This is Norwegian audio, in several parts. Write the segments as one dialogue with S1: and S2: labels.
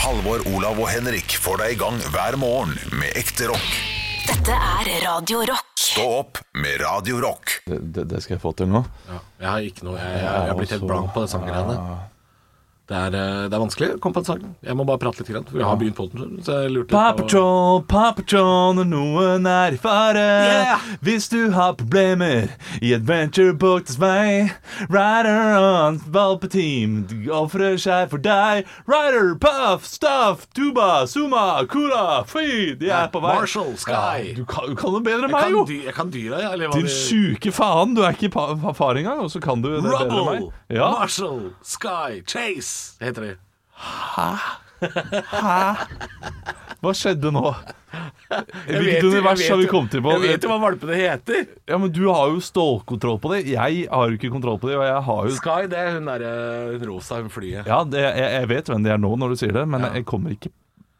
S1: Halvor, Olav og Henrik får deg i gang hver morgen med ekte rock.
S2: Dette er Radio Rock.
S1: Stå opp med Radio Rock.
S3: Det, det, det skal jeg få til nå.
S4: Ja, jeg har ikke noe Jeg, jeg, jeg
S3: Ja,
S4: har blitt helt
S3: også-
S4: blank på det sanggreiene. Det er, eh, det er vanskelig å komme på en sang. Jeg må bare prate litt, grann, for jeg har begynt på den. Så jeg lurte
S3: Paw
S4: litt på
S3: Patrol, Paw Patrol når noen er i fare.
S4: Yeah!
S3: Hvis du har problemer i adventurebuktas vei, Rider on valpeteam ofrer seg for deg. Rider, Puff, Stuff, Tuba, Suma, Kula, Fy, de er på vei.
S4: Marshall, Sky.
S3: Ja, du, kan, du kan det bedre enn
S4: jeg
S3: meg,
S4: kan,
S3: jo!
S4: dy, jeg kan dyra, jeg. Eller hva
S3: Din
S4: det-
S3: sjuke faen, du er ikke pa- pa- far engang, og så kan du det bedre enn meg.
S4: Rubble,
S3: Ja.
S4: Marshall, Sky, Chase heter de.
S3: Hva skjedde nå?
S4: vet
S3: Hvilket
S4: jo-
S3: univers
S4: jeg
S3: har
S4: vet
S3: vi
S4: jo-
S3: kommet til på?
S4: Jeg vet jo hva valpene heter.
S3: Ja, men du har jo stålkontroll på det. Jeg har jo ikke kontroll på det, og jeg har jo
S4: Sky, det er hun derre hun rosa, hun flyet.
S3: Ja, det, jeg, jeg vet hvem de er nå når du sier det, men jeg kommer ikke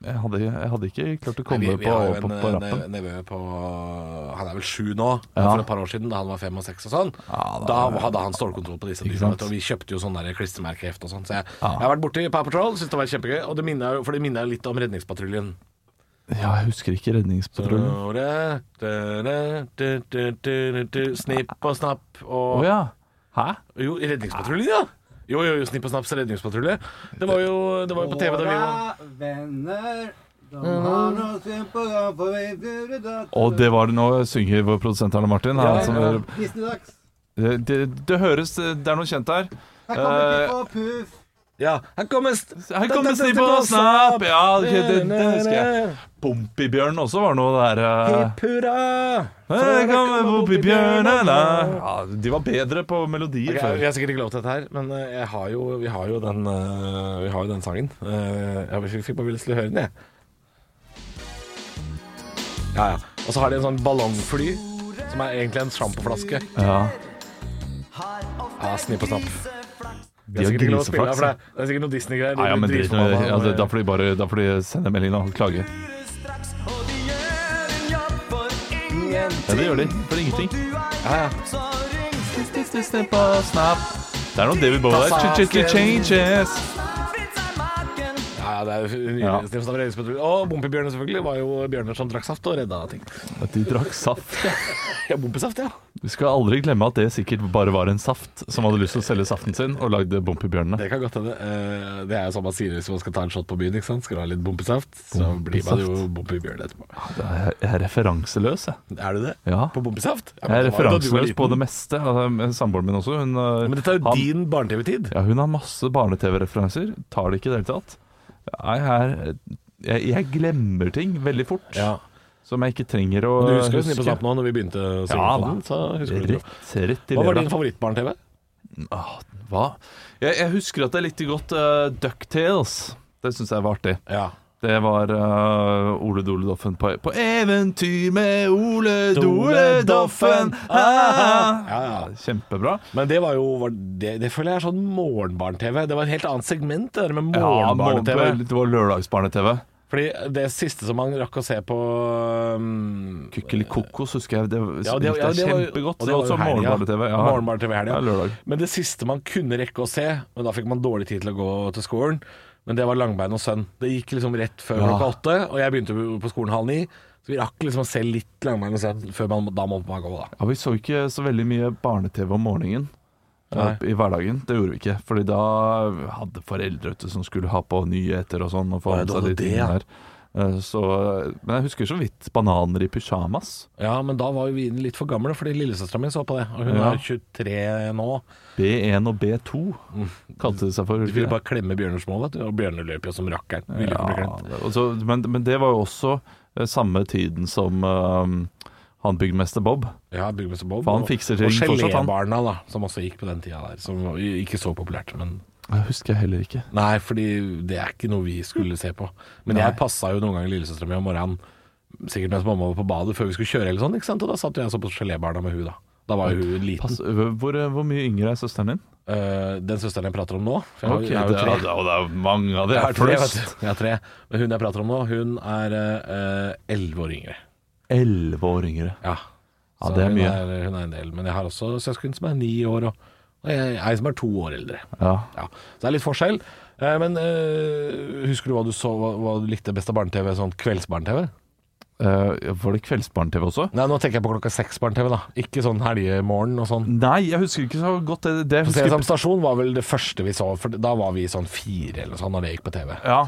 S3: jeg hadde, jeg hadde ikke klart å komme
S4: Nei, vi, vi
S3: på,
S4: har jo
S3: på,
S4: en
S3: på
S4: eh,
S3: rappen.
S4: ne- nevø på Han er vel sju nå.
S3: Ja.
S4: For et par år siden, da han var fem og seks og sånn.
S3: Ja,
S4: da
S3: da-
S4: hadde han stålkontroll på disse dyrene.
S3: sant?
S4: vet du, Og vi kjøpte jo sånne der klistremerkeheft og sånn. Så jeg, jeg har vært borti Power Patrol, syntes det var kjempegøy. Og det minner, jo- for det minner jo litt om Redningspatruljen.
S3: Ja, jeg husker ikke Redningspatruljen.
S4: Snipp og snapp
S3: Å
S4: og
S3: ja. Hæ?
S4: Jo, i Redningspatruljen, ja! Jo, jo, jo, Snipp og snapps redningspatrulje. Det var jo, det var jo på TV da vi var
S5: Våre venner, de har noe synd på gang på vei til datter.
S3: Og det var det nå synger vår produsent Arne Martin. Han,
S4: ja.
S3: som,
S5: Disneydags.
S3: det, det, det høres Det er noe kjent her.
S5: Her kommer
S3: Eh,
S5: Piff og Puff.
S4: Ja, her kommer st-
S3: Her kommer Snipp og Snapp! Ja, det, det, det husker jeg. Pompibjørn også var noe der. eh,
S4: Hipp hurra!
S3: Her kommer Pompibjørnene ja, De var bedre på melodier
S4: Ok,
S3: før.
S4: vi har sikkert ikke lov til dette her, men eh, jeg har jo, vi har jo den, eh, vi har jo den sangen. Eh, Jeg fikk- fikk bare lyst til å høre den, jeg. Ja, ja. Og så har de en sånn ballongfly, som er egentlig en sjampoflaske.
S3: Ja.
S4: Ja, snipp og snapp.
S3: De
S4: Vi har
S3: har
S4: sikkert ikke lov til å spille den,
S3: griseflaks.
S4: for det er- det er sikkert noen Disney-greier.
S3: Nei, ja, men
S4: De blir
S3: drit nå i det.
S4: dritforbanna
S3: Altså,
S4: med-
S3: da får de bare da får de sende melding og klage. Ja, det gjør de. For ingenting.
S4: Ja, ja.
S3: Det er noe David Bowie der. Ch- ch- ch- Changes.
S4: Ja, ja, det er jo
S3: Ja.
S4: Snipp og snapp redningspatrulje. Og Bompibjørnene, selvfølgelig, var jo bjørner som drakk saft og redda ting.
S3: At de drakk saft. ja.
S4: Ja, bompesaft, ja.
S3: Vi skal aldri glemme at det sikkert bare var en saft som hadde lyst til å selge saften sin og lagde Bompibjørnene.
S4: Det kan godt hende. Eh, Det er jo sånn man sier hvis man skal ta en shot på byen. ikke sant? Skal du ha litt bompesaft, så blir man jo bompebjørn etterpå.
S3: Jeg er referanseløs, jeg.
S4: Er du det?
S3: Ja.
S4: På bompesaft? Ja, men
S3: Jeg er
S4: det var jo da du var
S3: referanseløs
S4: liten.
S3: på det meste. Altså, men Samboeren min også. Hun, eh,
S4: Ja, Men dette er jo
S3: han-
S4: din barne-TV-tid.
S3: Ja, hun har masse barne-TV-referanser. Tar det ikke i det hele tatt. Jeg, er, jeg, jeg glemmer ting veldig fort.
S4: Ja.
S3: Som jeg ikke trenger å
S4: Du husker jo Snipp og Snapp nå når vi begynte å synge
S3: Ja,
S4: på
S3: da.
S4: den? Så husker du det.
S3: Rett, rett i
S4: Hva var din
S3: levra.
S4: favoritt-barne-TV?
S3: Åh, Ah, Hva? Jeg, jeg husker at jeg likte godt uh, Ducktales. Det syns jeg var artig.
S4: Ja.
S3: Det var eh, Ole Dole Doffen på, på eventyr med Ole Dole Doffen. Ah!
S4: Ja, ja.
S3: Kjempebra.
S4: Men det var jo var det, det føler jeg er sånn morgenbarn-TV. Det var et helt annet segment, det der med
S3: Ja,
S4: morgenbarn-TV.
S3: det var lørdagsbarne-TV.
S4: Fordi det siste som man rakk å se på um,
S3: Kukkeli kokos husker jeg. Det,
S4: Ja, det- ja, det var-
S3: kjempegodt.
S4: og
S3: Det
S4: det
S3: var
S4: var jo
S3: også
S4: helgen, ja.
S3: morgenbarne-TV. Ja.
S4: Morgenbarne-TV helgen,
S3: Ja,
S4: ja.
S3: lørdag.
S4: Men det siste man kunne rekke å se, men da fikk man dårlig tid til å gå til skolen, men det var Langbein og Sønn. Det gikk liksom rett før
S3: Ja.
S4: klokka åtte, og jeg begynte jo på skolen halv ni. Så vi rakk liksom å se litt Langbein og Sønn før man, da måtte man gå, da.
S3: Ja, Vi så ikke så veldig mye barne-TV om morgenen eh,
S4: Nei.
S3: i hverdagen. Det gjorde vi ikke. Fordi da hadde foreldre vet du, som skulle ha på nyheter og sånn. Og få
S4: Å, ja,
S3: med
S4: det
S3: seg
S4: var
S3: de
S4: det,
S3: tingene
S4: ja.
S3: her. Eh, Så, men jeg husker så vidt bananer i pysjamas.
S4: Ja, men da var jo vi litt for gamle, fordi lillesøstera mi så på det, og hun
S3: Ja.
S4: er 23 nå.
S3: B1 og B2 kalte det seg for.
S4: Mm. De ville bare klemme bjørner små, vet du, og bjørner løp jo som rakkeren. Ville ikke bli
S3: Ja,
S4: klemt.
S3: og så, men, men det var jo også eh, samme tiden som eh, han byggmester Bob.
S4: Ja, Byggmester Bob.
S3: For han
S4: og-
S3: fikser ting
S4: Og
S3: fortsatt, han.
S4: Gelébarna, da, som også gikk på den tida der. Som var ikke så populært, men
S3: Jeg husker jeg heller ikke.
S4: Nei, fordi det er ikke noe vi skulle se på. Men jeg passa jo noen ganger lillesøstera mi om morgenen, sikkert mens mamma var på badet før vi skulle kjøre, eller sånn, ikke sant? og da satt jeg og så på Gelébarna med hun da. Da var jo hun liten.
S3: Pass, hvor, hvor mye yngre er søsteren din?
S4: Eh, den søsteren jeg prater om nå for jeg,
S3: Ok,
S4: jeg er jo
S3: det
S4: tre.
S3: er- og det er jo mange av de
S4: Jeg
S3: her
S4: er tre, vet
S3: flest.
S4: du. Jeg er tre. Men hun jeg prater om nå, hun er eh, elleve år yngre.
S3: Elleve år yngre.
S4: Ja.
S3: Ja,
S4: Så
S3: det er
S4: hun
S3: mye.
S4: Er, hun er en del. Men jeg har også søsken som er ni år, og, og jeg, ei som er to år eldre.
S3: Ja.
S4: Ja, så det er litt forskjell. Eh, Eh, Men eh, husker du hva du så Hva, hva du likte best av barne-TV? Sånn kveldsbarne-TV?
S3: Eh, var det kveldsbarn-TV også?
S4: Nei, nå tenker jeg på klokka seks-barne-TV, da. Ikke sånn helgemorgen og sånn.
S3: Nei, jeg husker ikke så godt det. det jeg
S4: På
S3: husker,
S4: Sesam stasjon var vel det første vi så, for da var vi sånn fire eller noe sånt når det gikk på TV.
S3: Ja.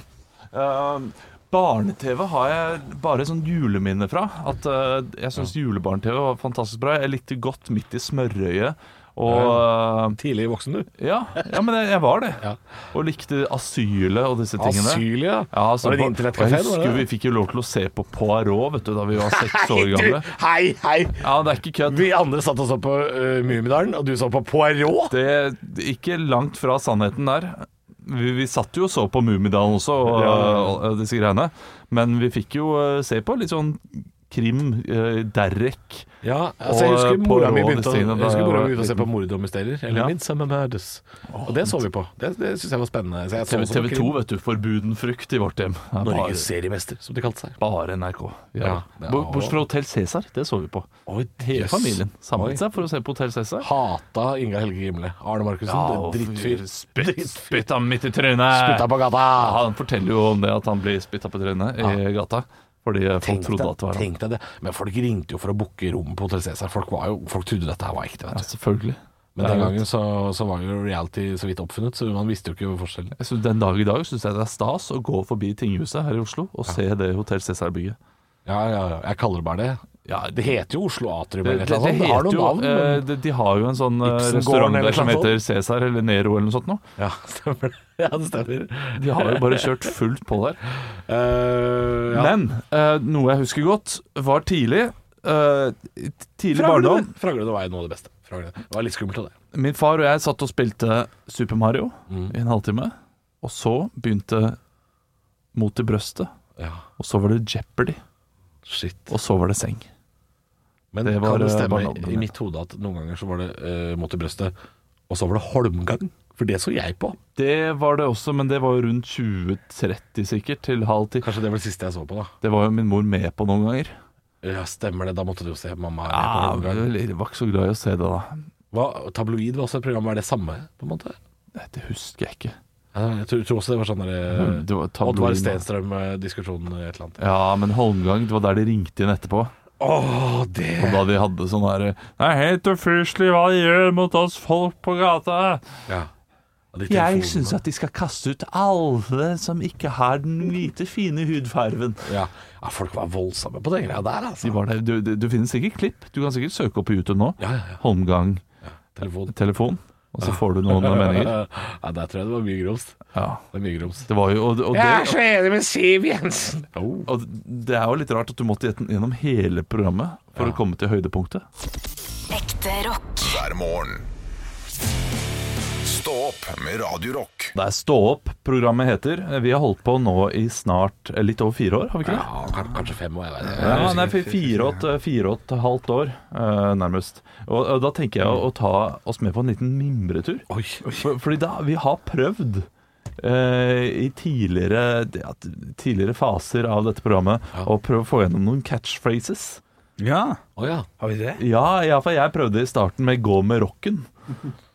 S3: Eh, Barne-TV har jeg bare sånn juleminne fra. At eh, Jeg syns julebarn-TV var fantastisk bra. Jeg likte godt midt i smørøyet. Og eh,
S4: Tidlig voksen, du.
S3: ja, ja, men jeg, jeg var det.
S4: Ja.
S3: Og likte Asylet og disse tingene.
S4: Asyl, ja.
S3: Ja, altså,
S4: var det en
S3: og jeg
S4: internettkafé?
S3: husker vi fikk jo lov til å se på Poirot vet du, da vi var seks år gamle.
S4: Hei, hei!
S3: Ja, det er ikke kødd.
S4: Vi andre satt og så på uh, Mummidalen, og du så på Poirot.
S3: Det er ikke langt fra sannheten der. Vi, vi satt jo og så på Mummidalen også, og, og disse greiene. Men vi fikk jo eh, se på litt sånn krim, eh, Derek
S4: Ja, altså, jeg husker
S3: Og
S4: mora mi
S3: Poirot,
S4: begynte å, jeg
S3: Stine, da
S4: husker mora mi
S3: jeg var
S4: begynte å se
S3: liten.
S4: på Mord og mysterier. Eller
S3: Ja.
S4: Midsummer Murders. Og det så vi på. Det, det syns jeg var spennende. Så jeg så
S3: TV,
S4: også på
S3: TV 2,
S4: krim.
S3: vet du. Forbuden frukt i vårt hjem. Det er
S4: Norges seriemester, som de kalte seg.
S3: Bare, bare NRK. Ja.
S4: Ja, det er-
S3: Bo- Bortsett fra Hotell Cæsar, det så vi på.
S4: Oi,
S3: Hele familien
S4: Oi.
S3: samlet seg for å se på Hotell Cæsar.
S4: Hata Inga Helge Gimle. Arne Markussen,
S3: Ja,
S4: det er drittfyr.
S3: Spytt, spytt ham midt i trynet!
S4: Spytta på gata!
S3: Han forteller jo om det at han blir spytta på trynet i gata. Fordi eh, folk
S4: Tenk
S3: trodde
S4: deg,
S3: at det var han.
S4: tenk deg det. Men folk ringte jo for å booke rom på Hotell Cæsar. Folk, var jo- folk trodde dette her var ekte.
S3: Ja,
S4: Vet du.
S3: selvfølgelig.
S4: Men
S3: Det er
S4: den
S3: jo-
S4: gangen så, så var jo reality så vidt oppfunnet, så man visste jo ikke forskjellen.
S3: Jeg synes, den dag i dag syns jeg det er stas å gå forbi tinghuset her i Oslo og se det Hotell Cæsar-bygget.
S4: Ja, ja, ja. Jeg kaller det bare det. det heter jo Oslo Atrium
S3: Det,
S4: eller
S3: det,
S4: et eller annet. sånt. Det har
S3: heter
S4: noen
S3: jo
S4: navn.
S3: eh,
S4: Men...
S3: de, de har jo en sånn eh,
S4: Ibsengården
S3: restaurant
S4: eller
S3: der som
S4: noe sånt.
S3: heter Cæsar eller Nero eller noe sånt nå.
S4: Ja, stemmer. Ja, det stemmer.
S3: De har jo bare kjørt fullt på der.
S4: Eh, ja.
S3: Men eh, noe jeg husker godt, var tidlig eh, Tidlig
S4: Fraglede.
S3: barndom.
S4: Fraglede var jo noe av det beste. Fraglede. Det var litt skummelt av det.
S3: Min far og jeg satt og spilte Super Mario
S4: Mm.
S3: i en halvtime. Og så begynte Mot i brøstet.
S4: Ja,
S3: Og så var det Jeopardy.
S4: shit.
S3: Og så var det seng.
S4: Men
S3: Det
S4: det
S3: var,
S4: kan det
S3: eh,
S4: stemme
S3: barndommen,
S4: i
S3: ja.
S4: mitt hode at noen ganger så var det eh, mot i brøstet, og så var det holmgang? For det så jeg på.
S3: Det var det også, men det var jo rundt 20.30 sikkert, til halv ti.
S4: Kanskje det var det siste jeg så på, da.
S3: Det var jo min mor med på noen ganger.
S4: Ja, stemmer det. Da måtte du jo se mamma. er
S3: Ja,
S4: på
S3: jeg
S4: holmgang.
S3: var ikke så glad i å se det da.
S4: Hva, tabloid var også et program. Er det samme, på en måte?
S3: Nei, Det husker jeg ikke.
S4: Ja, Jeg tror, tror også det var sånn
S3: Mm, det
S4: derre
S3: var tabloid.
S4: Oddvar Stenstrøm-diskusjonen eller et eller annet.
S3: Ja, men Holmgang, det var der de ringte inn etterpå.
S4: Åh, det
S3: Og da de hadde sånn her Det er helt ufyselig hva de gjør mot oss folk på gata.
S4: ja. Og de telefonene.
S3: Jeg syns at de skal kaste ut alle som ikke har den hvite, fine hudfarven.
S4: ja. ja, folk var voldsomme på den greia der, altså.
S3: De var der. Du, du, du finner sikkert klipp. Du kan sikkert søke opp på YouTube nå.
S4: Ja, ja, ja.
S3: Holmgang-telefon.
S4: Telefon.
S3: Og så får du noen meninger.
S4: Ja, der tror jeg det var mye grums.
S3: Ja.
S4: Det er mye grums.
S3: Det var Oh. jo og, og, det,
S4: enig med Siv Jensen!
S3: og det er jo litt rart at du måtte gjennom hele programmet for å komme til høydepunktet.
S2: Ekte rock.
S1: hver morgen. Stå opp med Radio Rock.
S3: Det er Stå opp-programmet heter. Vi har holdt på nå i snart eh, litt over fire år, har vi ikke det?
S4: Ja, kan- kanskje fem år, jeg vet ikke.
S3: Ja, nei, fi- fire og et, fire og et halvt år, eh, nærmest. Og, og da tenker jeg å, å ta oss med på en liten mimretur.
S4: Oi, oi.
S3: For, fordi da, vi har prøvd eh, i tidligere, ja, tidligere faser av dette programmet å prøve å få gjennom noen catchphrases.
S6: Ja,
S4: Å ja.
S6: har vi det?
S3: Ja, i alle fall jeg prøvde i starten med 'gå med rocken'.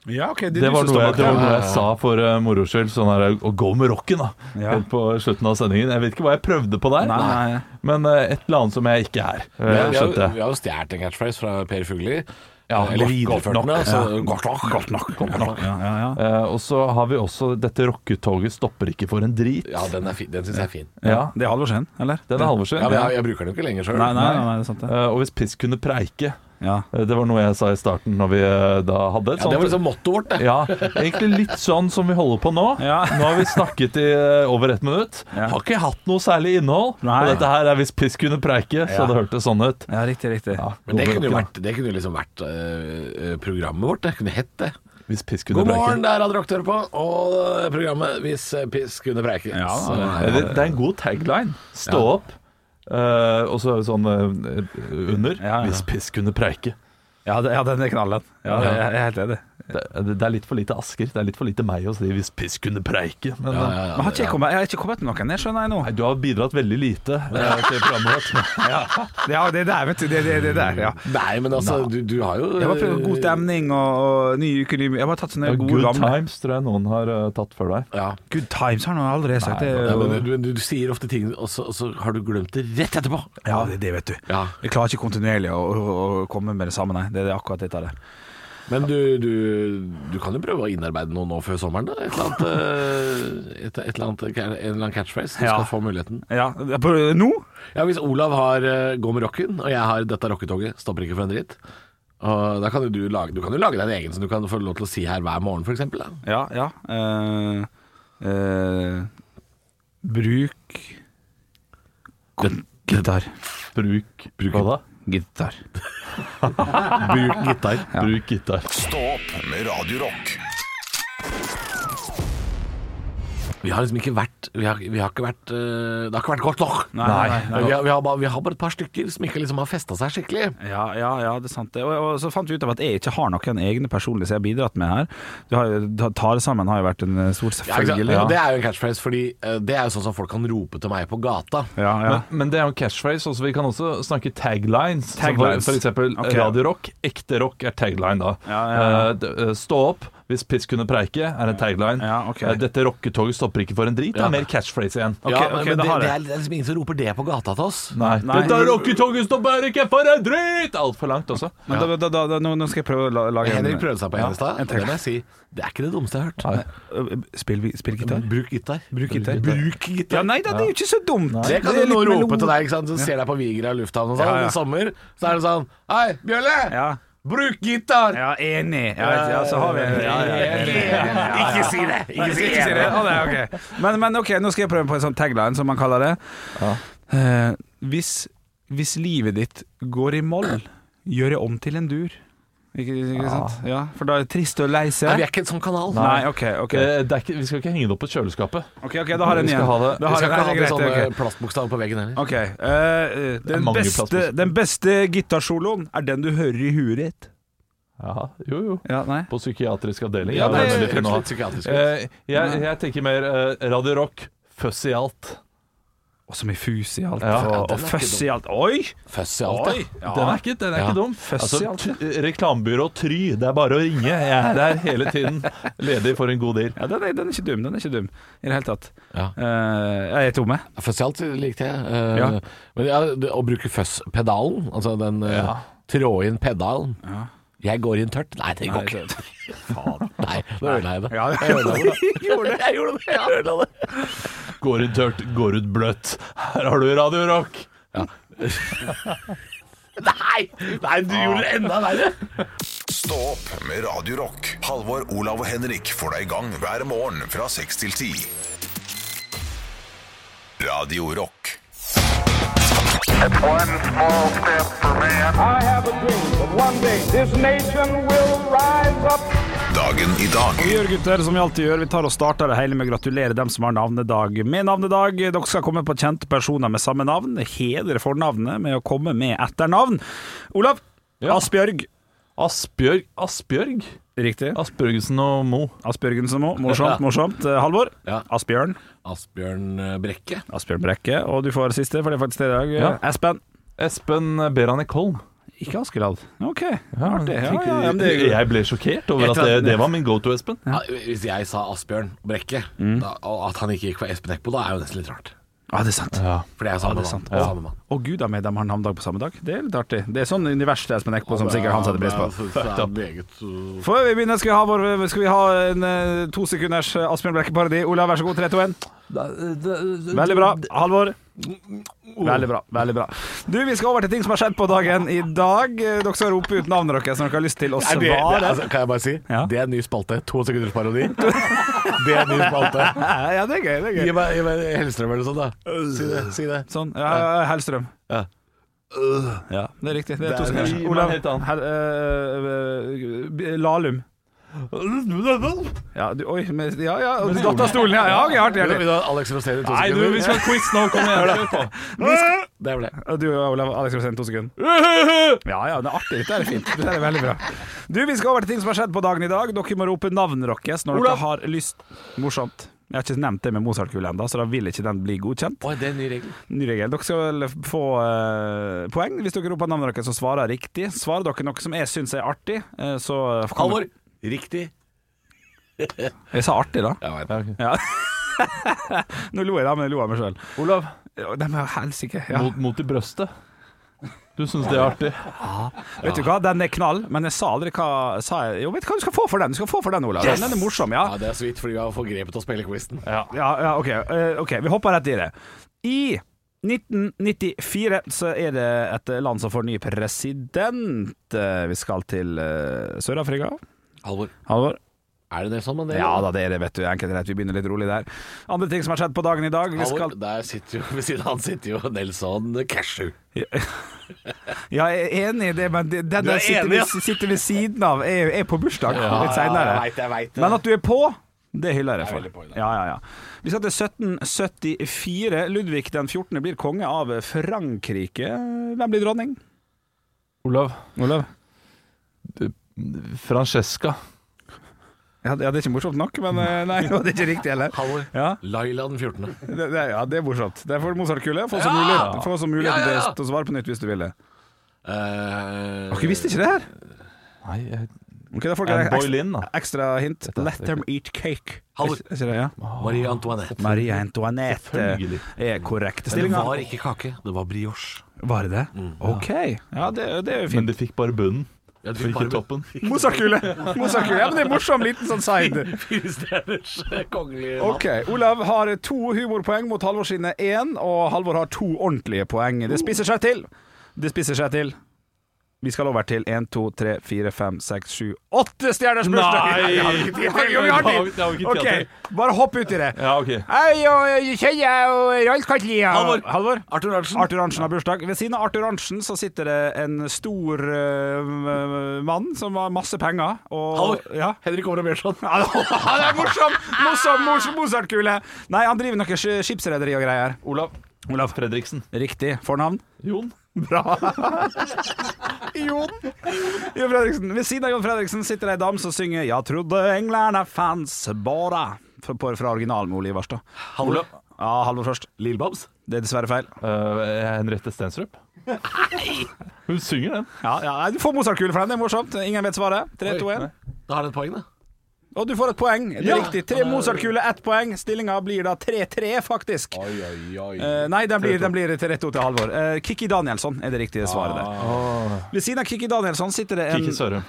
S6: Ja, ok,
S3: Det var noe jeg, det var
S6: ja.
S3: noe jeg sa for uh, moro skyld. Sånn her, å gå med rocken, da.
S6: Ja.
S3: Helt på slutten av sendingen. Jeg vet ikke hva jeg prøvde på der,
S6: Nei, nei, nei.
S3: men eh, et eller annet som jeg ikke er. Uh,
S4: Vi har,
S3: skjønte
S4: vi
S3: jeg.
S4: har jo stjålet en catchphrase fra Per Fugli. Eh,
S3: Ja,
S4: Eller
S3: godt
S4: videreført
S3: nok.
S4: den. da, så-
S6: Ja.
S4: Godt nok. Godt nok. Godt nok.
S6: Ja, ja, ja.
S3: Eh, og så har vi også 'Dette rocketoget stopper ikke for en drit'.
S4: Ja, den, er fin. den syns jeg er fin.
S3: Ja,
S6: Det er Halvorsen, eller?
S3: Den er
S4: Ja,
S3: Halvorsen.
S4: men jeg, jeg bruker den jo ikke lenger sjøl.
S6: Nei, nei, nei, nei, det er sant det.
S3: Eh, og 'Hvis piss kunne preike'.
S6: Ja.
S3: Eh, Det var noe jeg sa i starten når vi eh, da hadde et
S4: Ja, det var liksom mottoet vårt, det.
S3: Ja, egentlig litt sånn som vi holder på nå.
S6: Ja.
S3: Nå har vi snakket i eh, over ett minutt.
S6: Ja.
S3: Har ikke hatt noe særlig innhold.
S6: Nei.
S3: Og dette her er hvis piss kunne preike, så
S6: Ja.
S3: det hørtes sånn ut.
S6: ja, riktig, riktig.
S3: Ja,
S4: Men det
S3: god
S4: kunne jo
S3: rocken,
S4: vært, det kunne jo liksom vært eh, eh, programmet vårt. Det kunne hett det.
S3: da. Hvis piss kunne
S4: God
S3: preike.
S4: morgen, der hadde dere på. Og eh, programmet Hvis eh, piss kunne preike.
S6: Ja,
S4: Så-
S3: Eh, Det, det er en god tagline. Stå opp. Eh, og så er det sånn eh, under
S6: Ja, ja.
S3: Hvis piss kunne preike.
S6: Ja, det, ja den er knallen. Ja, jeg, jeg er helt enig.
S3: Det, det er litt for lite Asker. Det er litt for lite meg å si hvis piss kunne preike. Men eh,
S4: Ja, ja, ja,
S6: Men har ikke jeg, kommet, jeg har ikke kommet med noen, det skjønner jeg nå.
S3: Nei, du har bidratt veldig lite eh, til programmet vårt.
S6: Ja, det der, vet du. Det, det, det der, ja.
S4: Nei, men altså, du, du har jo
S6: Jeg har bare prøvd god stemning og, og ny uke, ny Jeg har bare tatt sånne gode
S3: Good
S6: gamle
S3: times tror jeg noen har eh, tatt før deg.
S4: Ja.
S6: Good times har noen allerede sagt. Det,
S4: Ja,
S6: er
S4: men
S6: jo-
S4: du, du, du sier ofte ting, og så, og så har du glemt det rett etterpå.
S6: ja, det, det vet du.
S4: Ja.
S6: Jeg klarer ikke kontinuerlig å, å, å komme med det samme, nei. Det er akkurat dette der.
S4: Men du, du, du kan jo prøve å innarbeide noe nå før sommeren, da. Et eller annet, eh, et, et eller annet en eller annen catchphrase. Du
S6: Ja.
S4: skal få muligheten.
S6: Ja, på- nå?
S4: Ja, Hvis Olav har eh, 'Gå med rocken', og jeg har 'Dette rocketoget', stopper ikke for en dritt. Og da kan jo du, lage, du kan jo lage deg en egen som du kan få lov til å si her hver morgen, f.eks.
S6: Ja, ja. Eh, eh, bruk gitar.
S3: Bruk, Hva da?
S6: Gitar.
S3: Bruk gitar. Bruk gitar.
S1: Stå opp med Radio Rock.
S4: Vi har liksom ikke vært Vi har, vi har ikke vært eh, Det har ikke vært godt nok.
S6: Nei, nei, nei.
S4: Vi, har, vi, har bare, vi har bare et par stykker som ikke liksom har festa seg skikkelig.
S6: Ja, ja, ja, det er sant. det. Og, og så fant vi ut av at jeg ikke har noen egne personlige som jeg har bidratt med her. Du har, jo- ta- ta det sammen har jo vært en eh,
S4: Ja, ikke
S6: stor
S4: sant?
S6: selvfølgelig.
S4: Og Det
S6: Ja,
S4: er jo en catchphrase, Fordi eh, det er jo sånn som folk kan rope til meg på gata.
S6: ja, ja.
S3: Men, men det er jo catchphrase, også vi kan også snakke taglines. Som
S6: Taglines.
S3: For, for eksempel
S6: Ok.
S3: Radio Rock. Ekte rock er tagline, da.
S6: Ja, ja, ja.
S3: Eh, d- eh, stå opp hvis piss kunne preike, er en tagline.
S6: Ja, ok.
S3: Eh, Dette rocketoget stopper ikke for en drit,
S4: Ja.
S3: er mer catchphrase igjen.
S6: Ok,
S4: ja, men,
S6: ok,
S4: men
S6: da
S4: det,
S6: har
S4: det,
S6: jeg.
S4: er, det er liksom ingen som roper det på gata til oss.
S3: Nei.
S6: Nei.
S3: Dette rocketoget stopper ikke for en drit! Altfor langt også.
S6: Men da, da, da, da, nå, nå skal jeg prøve å la- lage en-
S4: Henrik prøvde seg på en i stad.
S6: en
S4: og Det må jeg si. Det er ikke det dummeste jeg har hørt.
S6: Eh, Spill, vi- spill gitar.
S4: Bruk gitar.
S6: Bruk gitar.
S4: Bruk
S6: Ja,
S4: gitar.
S6: nei da, det er jo ikke så dumt.
S4: Det kan jo
S6: er litt
S4: noen rope
S6: melo-
S4: til deg, ikke sant? som ser deg på Vigra lufthavn og sånn.
S6: Ja, ja.
S4: I sommer så er det sånn Hei, Bjølle!
S6: Ja.
S4: Bruk gitar!
S6: Ja, enig. Ja, ja, så har vi
S4: Ikke si det! Ikke si
S6: Ikke si det. Å, nei, ok. Men, men ok, nå skal jeg prøve på en sånn tagline, som man kaller det. Eh, hvis, hvis livet ditt går i moll, gjør det om til en dur. Ikke, ikke sant? Ja, for da er det trist og lei
S4: Nei, vi
S6: seg.
S4: er ikke en sånn kanal.
S6: Nei, OK. ok
S3: Eh, Det er ikke, vi skal ikke henge det opp på kjøleskapet.
S6: Ok, ok, Da har jeg en
S3: Vi skal
S6: igjen.
S3: ha det-
S6: Da
S4: Vi
S6: har
S4: skal
S6: jeg-
S4: ikke ha
S6: nei,
S4: de
S6: det er
S4: sånne
S6: greit, ok.
S4: plastbokstaver på veggen heller.
S6: Ok, eh, den,
S3: mange
S6: beste,
S3: plassposer.
S6: den beste gitarsoloen er den du hører i huet ditt.
S3: Ja, jo, jo.
S6: Ja, nei
S3: På psykiatrisk avdeling.
S4: Ja,
S3: Ja,
S4: det
S3: det er
S4: høres
S3: veldig fin
S4: litt
S3: også.
S4: psykiatrisk ut.
S3: Eh, jeg, jeg tenker mer eh, Radio Rock, føss i alt.
S6: Og så mye fus i alt.
S3: Ja,
S6: og
S4: den er
S6: og
S4: ikke
S6: føss
S4: dum.
S6: i alt. Oi!
S4: Føss i alt,
S6: Oi.
S4: ja.
S6: Ja.
S3: Den er ikke, den er
S4: Ja.
S3: ikke dum.
S6: Føss i alt,
S3: Altså, t- reklamebyrå Try, det er bare å ringe. Jeg er der hele tiden, ledig for en god deal.
S6: Ja, den er, den er ikke dum. Den er ikke dum i det hele tatt.
S4: Ja.
S6: Eh, jeg er tomme.
S4: Føss i alt likte jeg. Eh,
S6: Ja.
S4: Men ja, det, å bruke føss-pedalen, altså den eh,
S3: Ja.
S4: trå inn pedalen Jeg går inn tørt. Nei, det går ikke. Nei, nå ødela jeg det.
S6: Ja,
S4: Jeg ødela det. Jeg gjorde det. Jeg ødela det.
S3: Går ut tørt, går ut bløtt. Her har du Radio Rock.
S4: Nei! Nei, du gjorde det enda verre.
S1: Stå opp med Radio Rock. Halvor, Olav og Henrik får deg i gang hver morgen fra 6 til 10. Radio Rock.
S7: One small step for man. I have a dream that one day this nation will rise up.
S1: Dagen i dag.
S6: Vi gjør gutter som vi alltid gjør. Vi tar og starter det hele med å gratulere dem som har navnedag med navnedag. Dere skal komme på kjente personer med samme navn. Hedre fornavnet med å komme med etternavn. Olav
S3: Ja.
S6: Asbjørg.
S3: Asbjørg Asbjørg?
S6: Riktig.
S3: Asbjørgsen og Mo.
S6: Asbjørgensen òg. Morsomt, morsomt. Eh, Halvor.
S4: Ja.
S6: Asbjørn.
S4: Asbjørn Brekke.
S6: Asbjørn Brekke. Og du får siste, for det er faktisk det i dag. Eh,
S3: Ja.
S6: Espen.
S3: Espen Beranek Holm.
S6: Ikke Askeladd. OK, artig. Ja,
S3: Tenk-
S6: ja, ja, men det er jo-
S3: Jeg ble sjokkert over at det, det var min go to, Espen.
S4: Ja, hvis jeg sa Asbjørn Brekke, da, og at han ikke gikk for Espen Eckbo, da er jo nesten litt rart.
S6: Ja, det er sant.
S3: Ja.
S4: For det er samme
S6: det er
S4: mann.
S6: sant.
S4: Det er samme mann.
S6: Å gud, da med dem har navnedag på samme dag. Det er litt artig. Det er sånn univers til Espen Eckbo som sikkert han setter pris på.
S4: Det er meget uh,
S6: Før vi begynner, skal vi ha, vår, skal vi ha en eh, to sekunders eh, Asbjørn Brekke-parodi. Olav, vær så god. 3, 2, 1. Veldig bra. Halvor. Veldig bra. veldig bra Du, Vi skal over til ting som har skjedd på dagen i dag. Eh, Dere skal rope ut navnet deres når dere har lyst til å
S4: Nei, det, det,
S6: svare.
S4: altså, kan jeg bare si?
S6: Ja.
S4: Det er en ny spalte. To sekunders parodi. Det er en ny spalte.
S6: Ja, det er gøy. det er
S4: Gi
S6: gøy
S4: meg, gi meg Hellstrøm eller noe sånt, da. Si det. Si det.
S6: Sånn. Ja, ja, Hellstrøm.
S4: Ja.
S6: Ja, det er riktig. Det er to
S3: er-
S6: sekunder.
S3: Gi meg en helt annen.
S6: Hel- eh, eh, Lahlum. Ja, du, oi, med, ja, ja, datt av stolen, ja. ja ok, hardt,
S4: Vi
S6: hjertelig.
S4: tar Alex Rosén i to
S3: Nei, du,
S4: sekunder.
S3: vi skal ha quiz nå. Kom igjen, kjør på.
S4: Det ble det.
S6: Og Du Olav, Alex Rosén, to sekunder. Ja ja, det er artig. Dette er fint. Dette er veldig bra. Du, Vi skal over til ting som har skjedd på dagen i dag. Dere må rope navnet deres når
S3: Olav.
S6: dere har lyst. Morsomt. Jeg har ikke nevnt det med Mozart-kule ennå, så da vil ikke den bli godkjent.
S4: Oi, det er en ny regel.
S6: Ny regel. Dere skal vel få eh, poeng hvis dere roper navnet deres og svarer riktig. Svarer dere noe som jeg syns er artig, eh, så kan-
S4: Halvor. Riktig.
S6: Jeg sa artig, da.
S4: Jeg vet.
S6: Nå lo jeg, da, men jeg lo av meg sjøl.
S3: Olav,
S6: De er helsike. Ja.
S3: mot, mot i brøstet. Du syns det er artig?
S6: Vet du hva, den er knall, men jeg sa aldri hva sa jeg. Jo, vet du hva du skal få for den? Du skal få for den, Olav. Den er morsom, ja.
S4: Ja, det er så vidt fordi vi har forgrepet oss på hele quizen.
S6: Ja, ja, ok. Eh, ok, vi hopper rett i det. I 1994 så er det et land som får ny president. Eh, Vi skal til eh, Sør-Afrika.
S4: Halvor.
S6: Halvor?
S4: Er det det sånn med det?
S6: Ja da, det er det, vet du. Enkelt og greit. Vi begynner litt rolig der. Andre ting som har skjedd på dagen i dag. Vi
S4: Halvor,
S6: skal
S4: der sitter jo, ved siden av han sitter jo Nelson Cashew.
S6: Ja, jeg er enig i det, men det- den
S4: Du er
S6: der sitter,
S4: enig, ja?
S6: ved- sitter ved siden av er, er på bursdag Ah, litt
S4: jeg
S6: seinere.
S4: vet, jeg vet det.
S6: Men at du er på, det hyller
S4: Jeg
S6: jeg
S4: er
S6: for.
S4: veldig på i dag.
S6: Ja, ja, ja. Vi skal til 1774. Ludvig den 14. blir konge av Frankrike. Hvem blir dronning?
S3: Olav,
S6: Olav?
S3: Francesca.
S6: Ja, det ja, det er ikke morsomt nok, men eh, nei, og det er ikke riktig heller.
S4: Halvor.
S6: Ja,
S4: Laila den 14.
S6: det, det, ja, det er morsomt. Der får du Mozart-kule. Få så
S4: Ja!
S6: mulighet, få så muligheten
S4: Ja, ja, ja.
S6: til å svare på nytt hvis du vil det.
S4: Eh,
S6: Dere visste ikke det her?
S3: Nei, jeg-
S6: Ok, da får dere
S3: Anne
S6: ekstra,
S3: Boleyn, da.
S6: ekstra hint. Let them eat cake.
S4: Halvor.
S6: Er ikke det, ja?
S4: Marie Antoinette.
S6: Marie Antoinette
S3: Selvfølgelig.
S6: er korrekt.
S4: Men det
S6: Stillinga
S4: var ikke kake, det var brioche.
S6: Var det det? OK. Ja, det, det er jo
S3: Men
S6: fint.
S3: de fikk bare bunnen,
S4: Ja, du
S3: for ikke
S4: bare-
S3: toppen.
S6: Mozartkule! Mozartkule. Ja, men det er en morsom liten sånn side.
S4: Fire stjerners kongelige
S6: OK. Olav har to humorpoeng mot Halvor sine én, og Halvor har to ordentlige poeng. Det spisser seg til. Det spisser seg til. Vi skal over til én, to, tre, fire, fem, seks, sju, åtte stjerners bursdag!
S3: Nei!
S6: Vi har ikke tid. Jo, vi har
S3: Det har vi
S6: tid.
S3: ikke tid til.
S6: OK, bare hopp uti det.
S3: Ja, OK.
S6: Hei, og eh, Kjøye og Ralf Katlia
S4: Halvor.
S6: Halvor.
S4: Arthur Arntzen.
S6: Arthur Arntzen har bursdag. Ved siden av Arthur Arntzen så sitter det en stor eh, mann som har masse penger. Og,
S4: Halvor.
S6: Ja.
S4: Henrik Over Bjørnson.
S6: Ja, det er morsom! Morsom, morsom Mozart-kule! Nei, han driver noe sk- skipsrederi og greier.
S3: Olav. Olav Fredriksen.
S6: Riktig fornavn.
S3: Jon.
S6: Bra. Jon. Jon Fredriksen. Ved siden av Jon Fredriksen sitter det ei dame som synger 'Jeg trodde englerne fanns bara' fra, fra originalen med Ole Ivarstad.
S4: Halvor.
S6: Ja, Halvor først.
S4: Lillebabs.
S6: Det er dessverre feil.
S3: Eh, Henriette Stensrup. Hun synger den.
S6: Ja, ja, nei, Du får Mozart-kule for den, det er morsomt. Ingen vet svaret. 3, 2, 1.
S4: Da har den poeng, da.
S6: Og du får et poeng. Det er riktig. Tre Mozart-kule, ett poeng. Stillinga blir da 3-3, faktisk.
S4: Oi, oi, oi.
S6: Eh, nei, den blir, den blir til 3-2 til Halvor. Eh, Kikki Danielsson er det riktige svaret der.
S4: Ah.
S6: Ved siden av Kikki Danielsson sitter det en
S3: Kikki Sørum.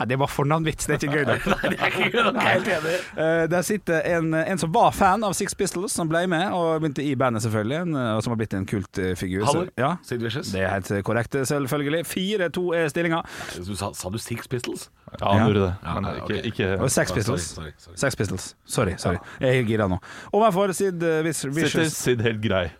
S6: Nei, Det var fornavnvits, det er ikke gøy nok.
S4: Nei, det er ikke gøy nok. Jeg er Helt enig.
S6: Eh, der sitter en, en som var fan av Six Pistols, som ble med, og begynte i bandet, selvfølgelig. En, eh, og som har blitt en kultfigur.
S4: Halvor.
S6: Ja.
S4: Sid Vicious.
S6: Det er helt korrekt, selvfølgelig. eh, 4-2 er stillinga.
S4: Du sa, sa du Six Pistols?
S3: Ja, han
S6: Ja.
S3: gjorde det. Men
S4: Ja, ok.
S3: ikke, ikke
S6: Og Sex Pistols.
S4: Sorry, sorry,
S6: Sex Pistols. Sorry. sorry Jeg er gira nå. Overfor Sid eh, Vis-
S3: Sitter
S6: Vicious
S3: Sid helt grei.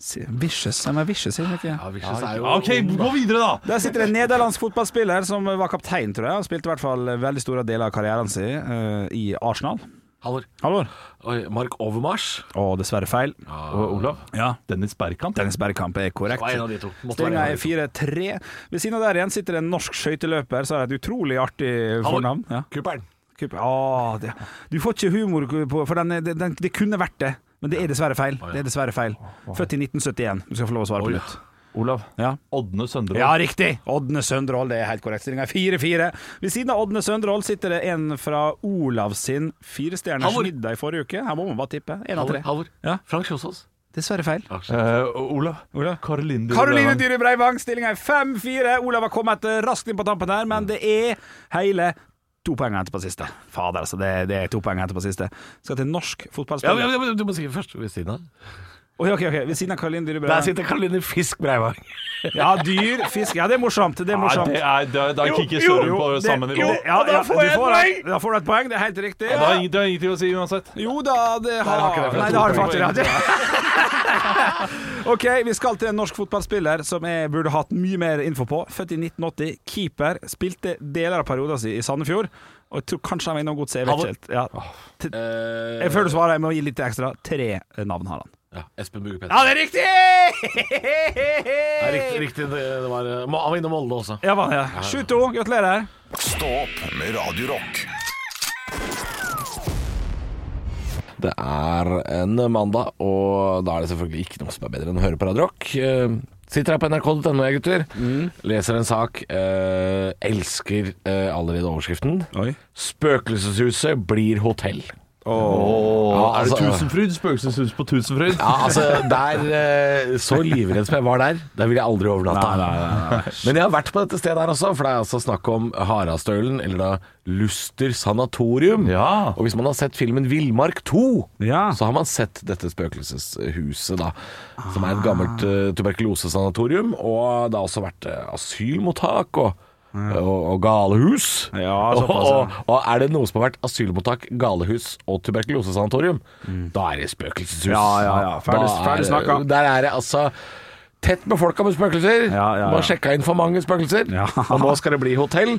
S6: Si- Vicious? De er Vicious, sier de ikke?
S4: Ja, Vicious er jo
S3: OK, gå videre, da!
S6: Der sitter en nederlandsk fotballspiller som var kaptein, tror jeg. Han spilte i hvert fall veldig store deler av karrieren sin eh, i Arsenal.
S4: Halvor.
S6: Halvor?
S4: Oi, Mark Overmars.
S6: Å, dessverre feil.
S3: Og Olav.
S6: Ja.
S3: Dennis Bergkamp.
S6: Dennis Bergkamp er korrekt.
S4: Det var en av de to. Måtte
S6: Stillinga
S4: være en
S6: er
S4: av de to.
S6: 4-3. Ved siden av der igjen sitter det en norsk skøyteløper som har et utrolig artig fornavn. Ja.
S4: Kuppern.
S6: Kupp- Å, det. Du får ikke humor på For den, er- den, den, det kunne vært det, men det er dessverre feil. Det er dessverre feil. Født i 1971. Du skal få lov å svare på
S4: Oi.
S6: nytt.
S3: Olav.
S6: Ja.
S3: Ådne Søndre.
S6: Ja, riktig! Ådne Søndrål, det er helt korrekt. Stillinga er 4-4. Ved siden av Ådne Søndrål sitter det en fra Olav sin firestjerners
S4: Halvor.
S6: middag i forrige uke. Her må man bare tippe. Én av
S4: Halvor.
S6: tre.
S4: Halvor.
S6: Ja.
S4: Frank Kjosås.
S6: Dessverre feil.
S3: Eh, Olav. Karoline Dyhre
S6: Karoline
S3: Drevang.
S6: Dyhre Breivang, stillinga er 5-4. Olav har kommet eh, raskt inn på tampen her, men det er hele to poeng å hente på siste. Fader, altså. Det, det er to poeng å hente på siste. Skal til norsk
S4: Ja, men-
S6: fotballspiller.
S4: ja, men du må si først. Ved siden av.
S6: Oi, ok, ok, Ved siden av Karoline Dyhre
S4: Der
S6: Breivik.
S4: sitter Karoline Fisk Breivang.
S6: Ja, dyr, fisk Ja, det er morsomt. Det er
S3: Nei,
S6: morsomt.
S3: det er, da da
S4: Jo,
S3: kikker
S4: jo,
S3: Søren på
S4: jo,
S3: samme
S4: det-
S3: nivå.
S4: jo.
S6: Ja,
S4: Og da
S6: ja,
S4: får jeg
S6: du
S4: et poeng!
S6: Da får du et poeng, det er helt riktig.
S3: Det har ing- det har ingenting å si uansett.
S6: Jo da, det har,
S4: har ikke det, for det
S6: Nei, det
S4: er
S6: har
S4: to
S6: faktisk
S3: poeng.
S6: det. OK, vi skal til en norsk fotballspiller som jeg burde hatt mye mer info på. Født i 1980, keeper. Spilte deler av perioden sin i Sandefjord. Og jeg tror kanskje han var innom godset. Jeg vet ikke helt. Ja. T- Jeg føler svaret jeg må gi litt ekstra. Tre navn har han.
S4: Ja, Espen Bugge
S6: Ja,
S4: Pettersen.
S6: det er riktig!
S4: Ja, riktig, riktig, det, det var, eh, han var innom Molde også.
S6: Ja, hva er det? 7-2, gratulerer.
S1: Stå opp med Radio Rock.
S4: Det er en mandag, og da er det selvfølgelig ikke noe som er bedre enn å høre på Radio Rock. Eh, Sitter her på nrk.no, jeg, gutter.
S3: Mm.
S4: Leser en sak. eh, elsker eh, allerede overskriften.
S6: Oi.
S4: Spøkelseshuset blir hotell.
S3: Åh,
S4: Ja,
S3: er det
S4: altså-
S3: Tusenfryd? Spøkelseshus på Tusenfryd?
S4: Ja, altså, der eh, Så livredd som jeg var der, der ville jeg aldri overnatta. Men jeg har vært på dette stedet her også, for det er altså snakk om Harastølen, eller da Luster sanatorium.
S3: Ja.
S4: Og hvis man har sett filmen 'Villmark 2',
S6: Ja.
S4: så har man sett dette spøkelseshuset, da. Som er et gammelt eh, tuberkulosesanatorium, og det har også vært eh, asylmottak og, og, og galehus.
S6: Ja,
S4: og,
S6: såpass, ja.
S4: og, og er det noe som har vært asylmottak, galehus og tuberkulosesanatorium, da er det spøkelseshus.
S6: Mm. Ja, ja, ja. Ferdig-
S4: Da er-
S6: ferdig snakka.
S4: Der er det altså Tett befolka med spøkelser.
S6: Ja, ja,
S4: Man har
S6: ja.
S4: sjekka inn for mange spøkelser.
S6: Ja.
S4: Og nå skal det bli hotell.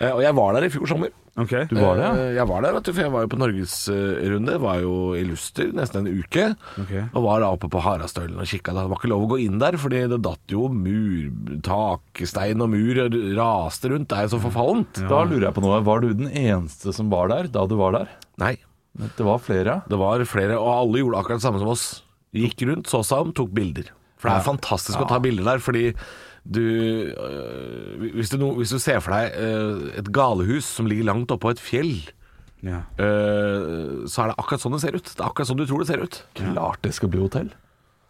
S4: Eh, Og jeg var der i fjor sommer.
S6: Ok.
S3: Du var det, ja?
S4: Eh, Jeg var der, vet du, for jeg var jo på norgesrunde. Var jo i Luster nesten en uke.
S6: Ok.
S4: Og var da oppe på Harastølen og kikka. Det var ikke lov å gå inn der, fordi det datt jo mur, takstein og mur og raste rundt. Det er jo så forfallent.
S3: Da lurer jeg på noe. Var du den eneste som var der da du var der?
S4: Nei.
S3: Det var flere, ja.
S4: Det var flere, og alle gjorde akkurat det samme som oss. Gikk rundt, så seg om, tok bilder. For det er fantastisk å ta bilder der, fordi du øh, hvis, du no, hvis du ser for deg øh, et galehus som ligger langt oppå et fjell,
S6: Ja.
S4: øh, så er det akkurat sånn det ser ut. Det er akkurat sånn du tror det ser ut.
S3: Klart det skal bli hotell.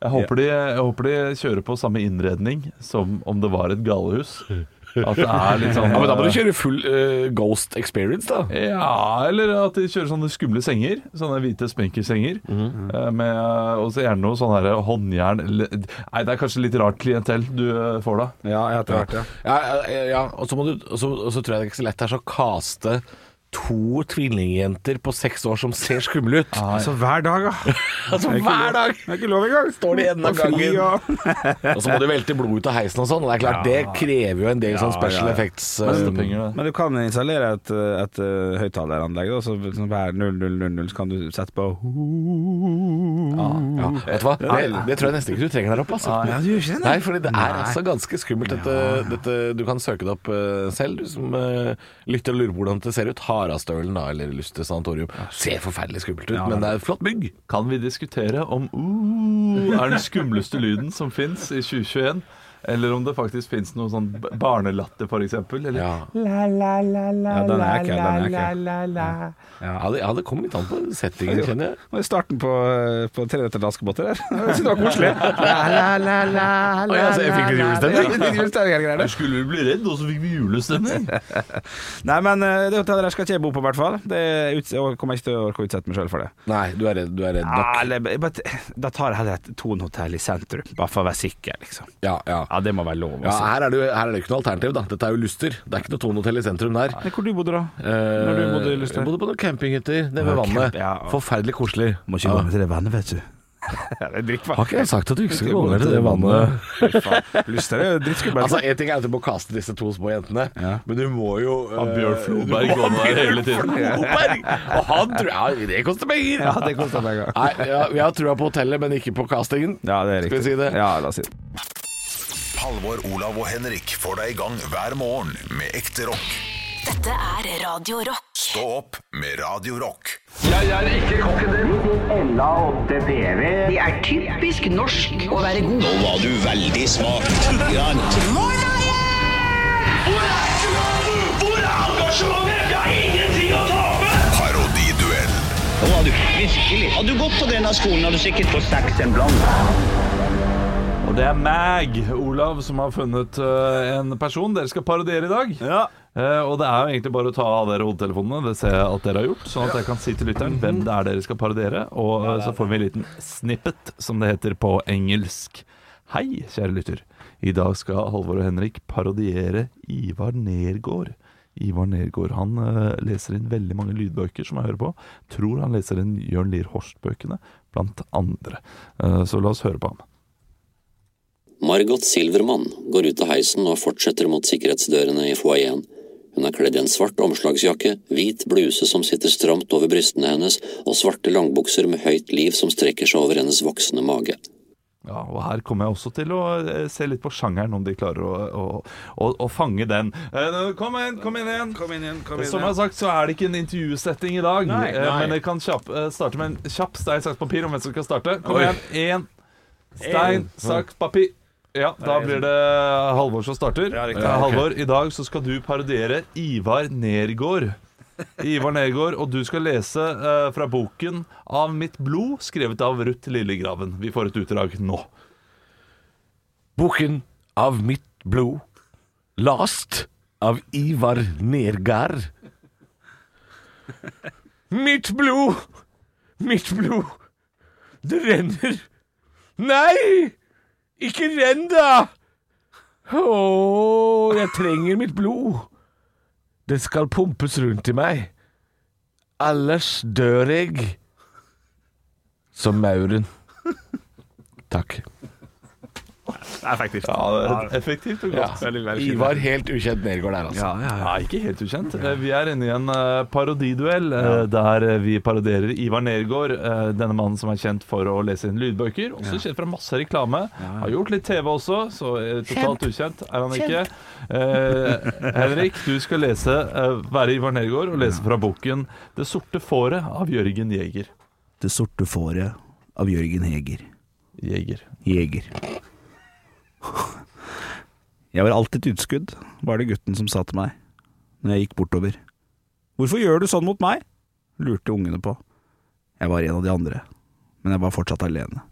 S3: Jeg håper, de, jeg håper de kjører på samme innredning som om det var et galehus. At det er litt sånn
S4: Ja, men da må du kjøre full øh, ghost experience, da.
S3: Ja, eller at de kjører sånne skumle senger. Sånne hvite spenkersenger.
S4: Mhm.
S3: eh, med, Og så gjerne noe sånn her håndjern eller- Nei, det er kanskje litt rart klientell du eh, får da.
S6: Ja, etter hvert, ja.
S4: Ja, ja, ja. Og, så må du, og, så, og så tror jeg det er ikke så lett det er så å kaste to tvillingjenter på seks år som ser skumle ut.
S6: Altså hver dag, da.
S4: Altså hver dag!
S6: Det er ikke lov engang.
S4: Står de i enden av
S6: Og fri,
S4: gangen.
S6: og-
S4: Og så må du velte blod ut av heisen og sånn. Og det er klart, det krever jo en del sånn special effects.
S3: Koster
S4: eh,
S3: penger, det.
S6: Men du kan installere et, et eh, høyttaleranlegg, da, så liksom hver 0000 så kan du sette på Ah,
S4: ja. Vet du hva? Det, det tror jeg nesten ikke du trenger der oppe. Altså.
S6: du gjør ikke
S4: Nei, fordi det er altså ganske skummelt dette, dette Du kan søke det opp eh, selv, du som eh, lytter og lurer på hvordan det ser ut. Harastølen da, eller Luster sanatorium. Ser forferdelig skummelt ut, men det er et flott bygg.
S3: Kan vi diskutere om uh, er den skumleste lyden som fins i 2021? Eller om det faktisk fins noe sånn b- barnelatter, f.eks. Eller
S4: Ja.
S6: Ja, den er ekkel, den er ekkel.
S4: Ja, det, ja, det kom litt an på settingen, kjenner jeg.
S6: Og i starten på, eh, på Tre nøtter til Askepott der. Jeg synes det var koselig. La, la, la, la, la,
S4: Oi, altså, jeg fikk litt
S6: la, la.
S4: julestemning.
S6: Ja, litt julestemning er det greier, det.
S3: Skulle du bli redd, og så fikk vi julestemning?
S6: Nei, men eh, det hotellet der skal ikke jeg bo på, i hvert fall. Det er uts- Jeg kommer ikke til å orke å utsette meg sjøl for det.
S4: Nei, du er redd, du er redd nok.
S6: Ja, eller, jeg bare- da tar jeg heller et Thon-hotell i sentrum, bare for å være sikker, liksom.
S4: Ja, ja.
S6: Ja, det må være lov.
S4: Ja,
S6: Altså.
S4: her er, det, jo- her er det ikke noe alternativ, da. Dette er jo Luster. Det er ikke noe Tonehotell i sentrum der.
S6: Men Hvor du bodde da?
S4: Når
S6: du bodde i
S4: Eh,
S6: Luster?
S4: Jeg bodde på noen campinghytter nede ved
S6: Ja,
S4: vannet.
S6: camp- ja.
S4: Forferdelig koselig.
S6: Må ikke gå ned til det vannet, vet du. ah. det er drikkvann.
S4: Har ikke jeg sagt at du ikke skal gå ned til det vannet?
S6: Lyster er jo drittskummelt.
S4: Altså, En ting er at du må kaste disse to små jentene, men du må jo uh,
S3: Bjørn Floberg går med der hele tiden.
S4: Floberg! Og han tror Ja, det koster penger!
S6: ja, det koster penger.
S4: Nei, ja, Vi har trua på hotellet, men ikke på castingen.
S6: Ja, det er
S4: Skal vi si
S6: riktig.
S4: det?
S6: Ja, la oss si det.
S1: Halvor, Olav og Henrik får deg i gang hver morgen med ekte rock.
S2: Dette er Radio Rock.
S1: Stå opp med Radio Rock.
S8: Det er typisk norsk å være god. Nå var du veldig smak.
S9: Hvor er engasjementet? Jeg har ingenting å tape!
S1: Parodiduell.
S8: Nå var du virkelig. Hadde du gått på denne skolen, hadde du sikkert fått seks en blant.
S3: Og det er meg, Olav, som har funnet eh, en person dere skal parodiere i dag.
S6: Ja.
S3: Eh, og det er jo egentlig bare å ta av dere hodetelefonene, det ser jeg at dere har gjort, sånn at jeg kan si til lytteren hvem det er dere skal parodiere, og eh, så får vi en liten snippet, som det heter på engelsk. Hei, kjære lytter. I dag skal Halvor og Henrik parodiere Ivar Nergård. Ivar Nergård han eh, leser inn veldig mange lydbøker som jeg hører på. Tror han leser inn Jørn Lier Horst-bøkene, blant andre. Eh, så la oss høre på ham.
S10: Margot Silvermann går ut av heisen og fortsetter mot sikkerhetsdørene i foajeen. Hun er kledd i en svart omslagsjakke, hvit bluse som sitter stramt over brystene hennes, og svarte langbukser med høyt liv som strekker seg over hennes voksende mage.
S3: Ja, og her kommer jeg også til å eh, se litt på sjangeren, om de klarer å, å, å, å fange den. Eh, Kom inn, kom inn igjen!
S6: Kom inn igjen, kom inn
S3: Som jeg har
S6: igjen.
S3: sagt, så er det ikke en intervjusetting i dag.
S6: Nei,
S3: eh,
S6: nei.
S3: Men jeg kan kjapp, eh, starte med en kjapp stein, saks, papir om hvem som skal starte. Kom
S6: Oi.
S3: igjen. Én stein, saks, papir. Ja, da blir det Halvor som starter.
S6: Ja, riktig.
S3: Eh, Halvor, i dag så skal du parodiere Ivar Nergård. Ivar Nergård, og du skal lese eh, fra boken 'Av mitt blod', skrevet av Ruth Lillegraven. Vi får et utdrag nå.
S4: Boken av mitt blod. Last av Ivar Nergard. Mitt blod, mitt blod, det renner. Nei, ikke renn da! Å, jeg trenger mitt blod. Det skal pumpes rundt i meg. Ellers dør jeg. Som mauren. Takk.
S6: Effektivt.
S3: Ja, det er effektivt og godt.
S6: Veldig, veldig fint.
S4: Ivar helt ukjent Nergård der, altså.
S3: Nei, ikke helt ukjent. Eh, Vi er inne i en eh, parodiduell eh, der eh, vi parodierer Ivar Nergård, eh, denne mannen som er kjent for å lese inn lydbøker. Også kjent fra masse reklame. Har gjort litt TV også, så eh, totalt ukjent er han ikke. Eh, Henrik, du skal lese, eh, være Ivar Nergård og lese fra boken 'Det sorte fåret' av Jørgen Jæger.
S5: Det sorte fåret av Jørgen Heger.
S3: Jæger.
S5: Jeger. Jeg var alltid et utskudd, var det gutten som sa til meg når jeg gikk bortover. Hvorfor gjør du sånn mot meg? lurte ungene på. Jeg var en av de andre, men jeg var fortsatt alene.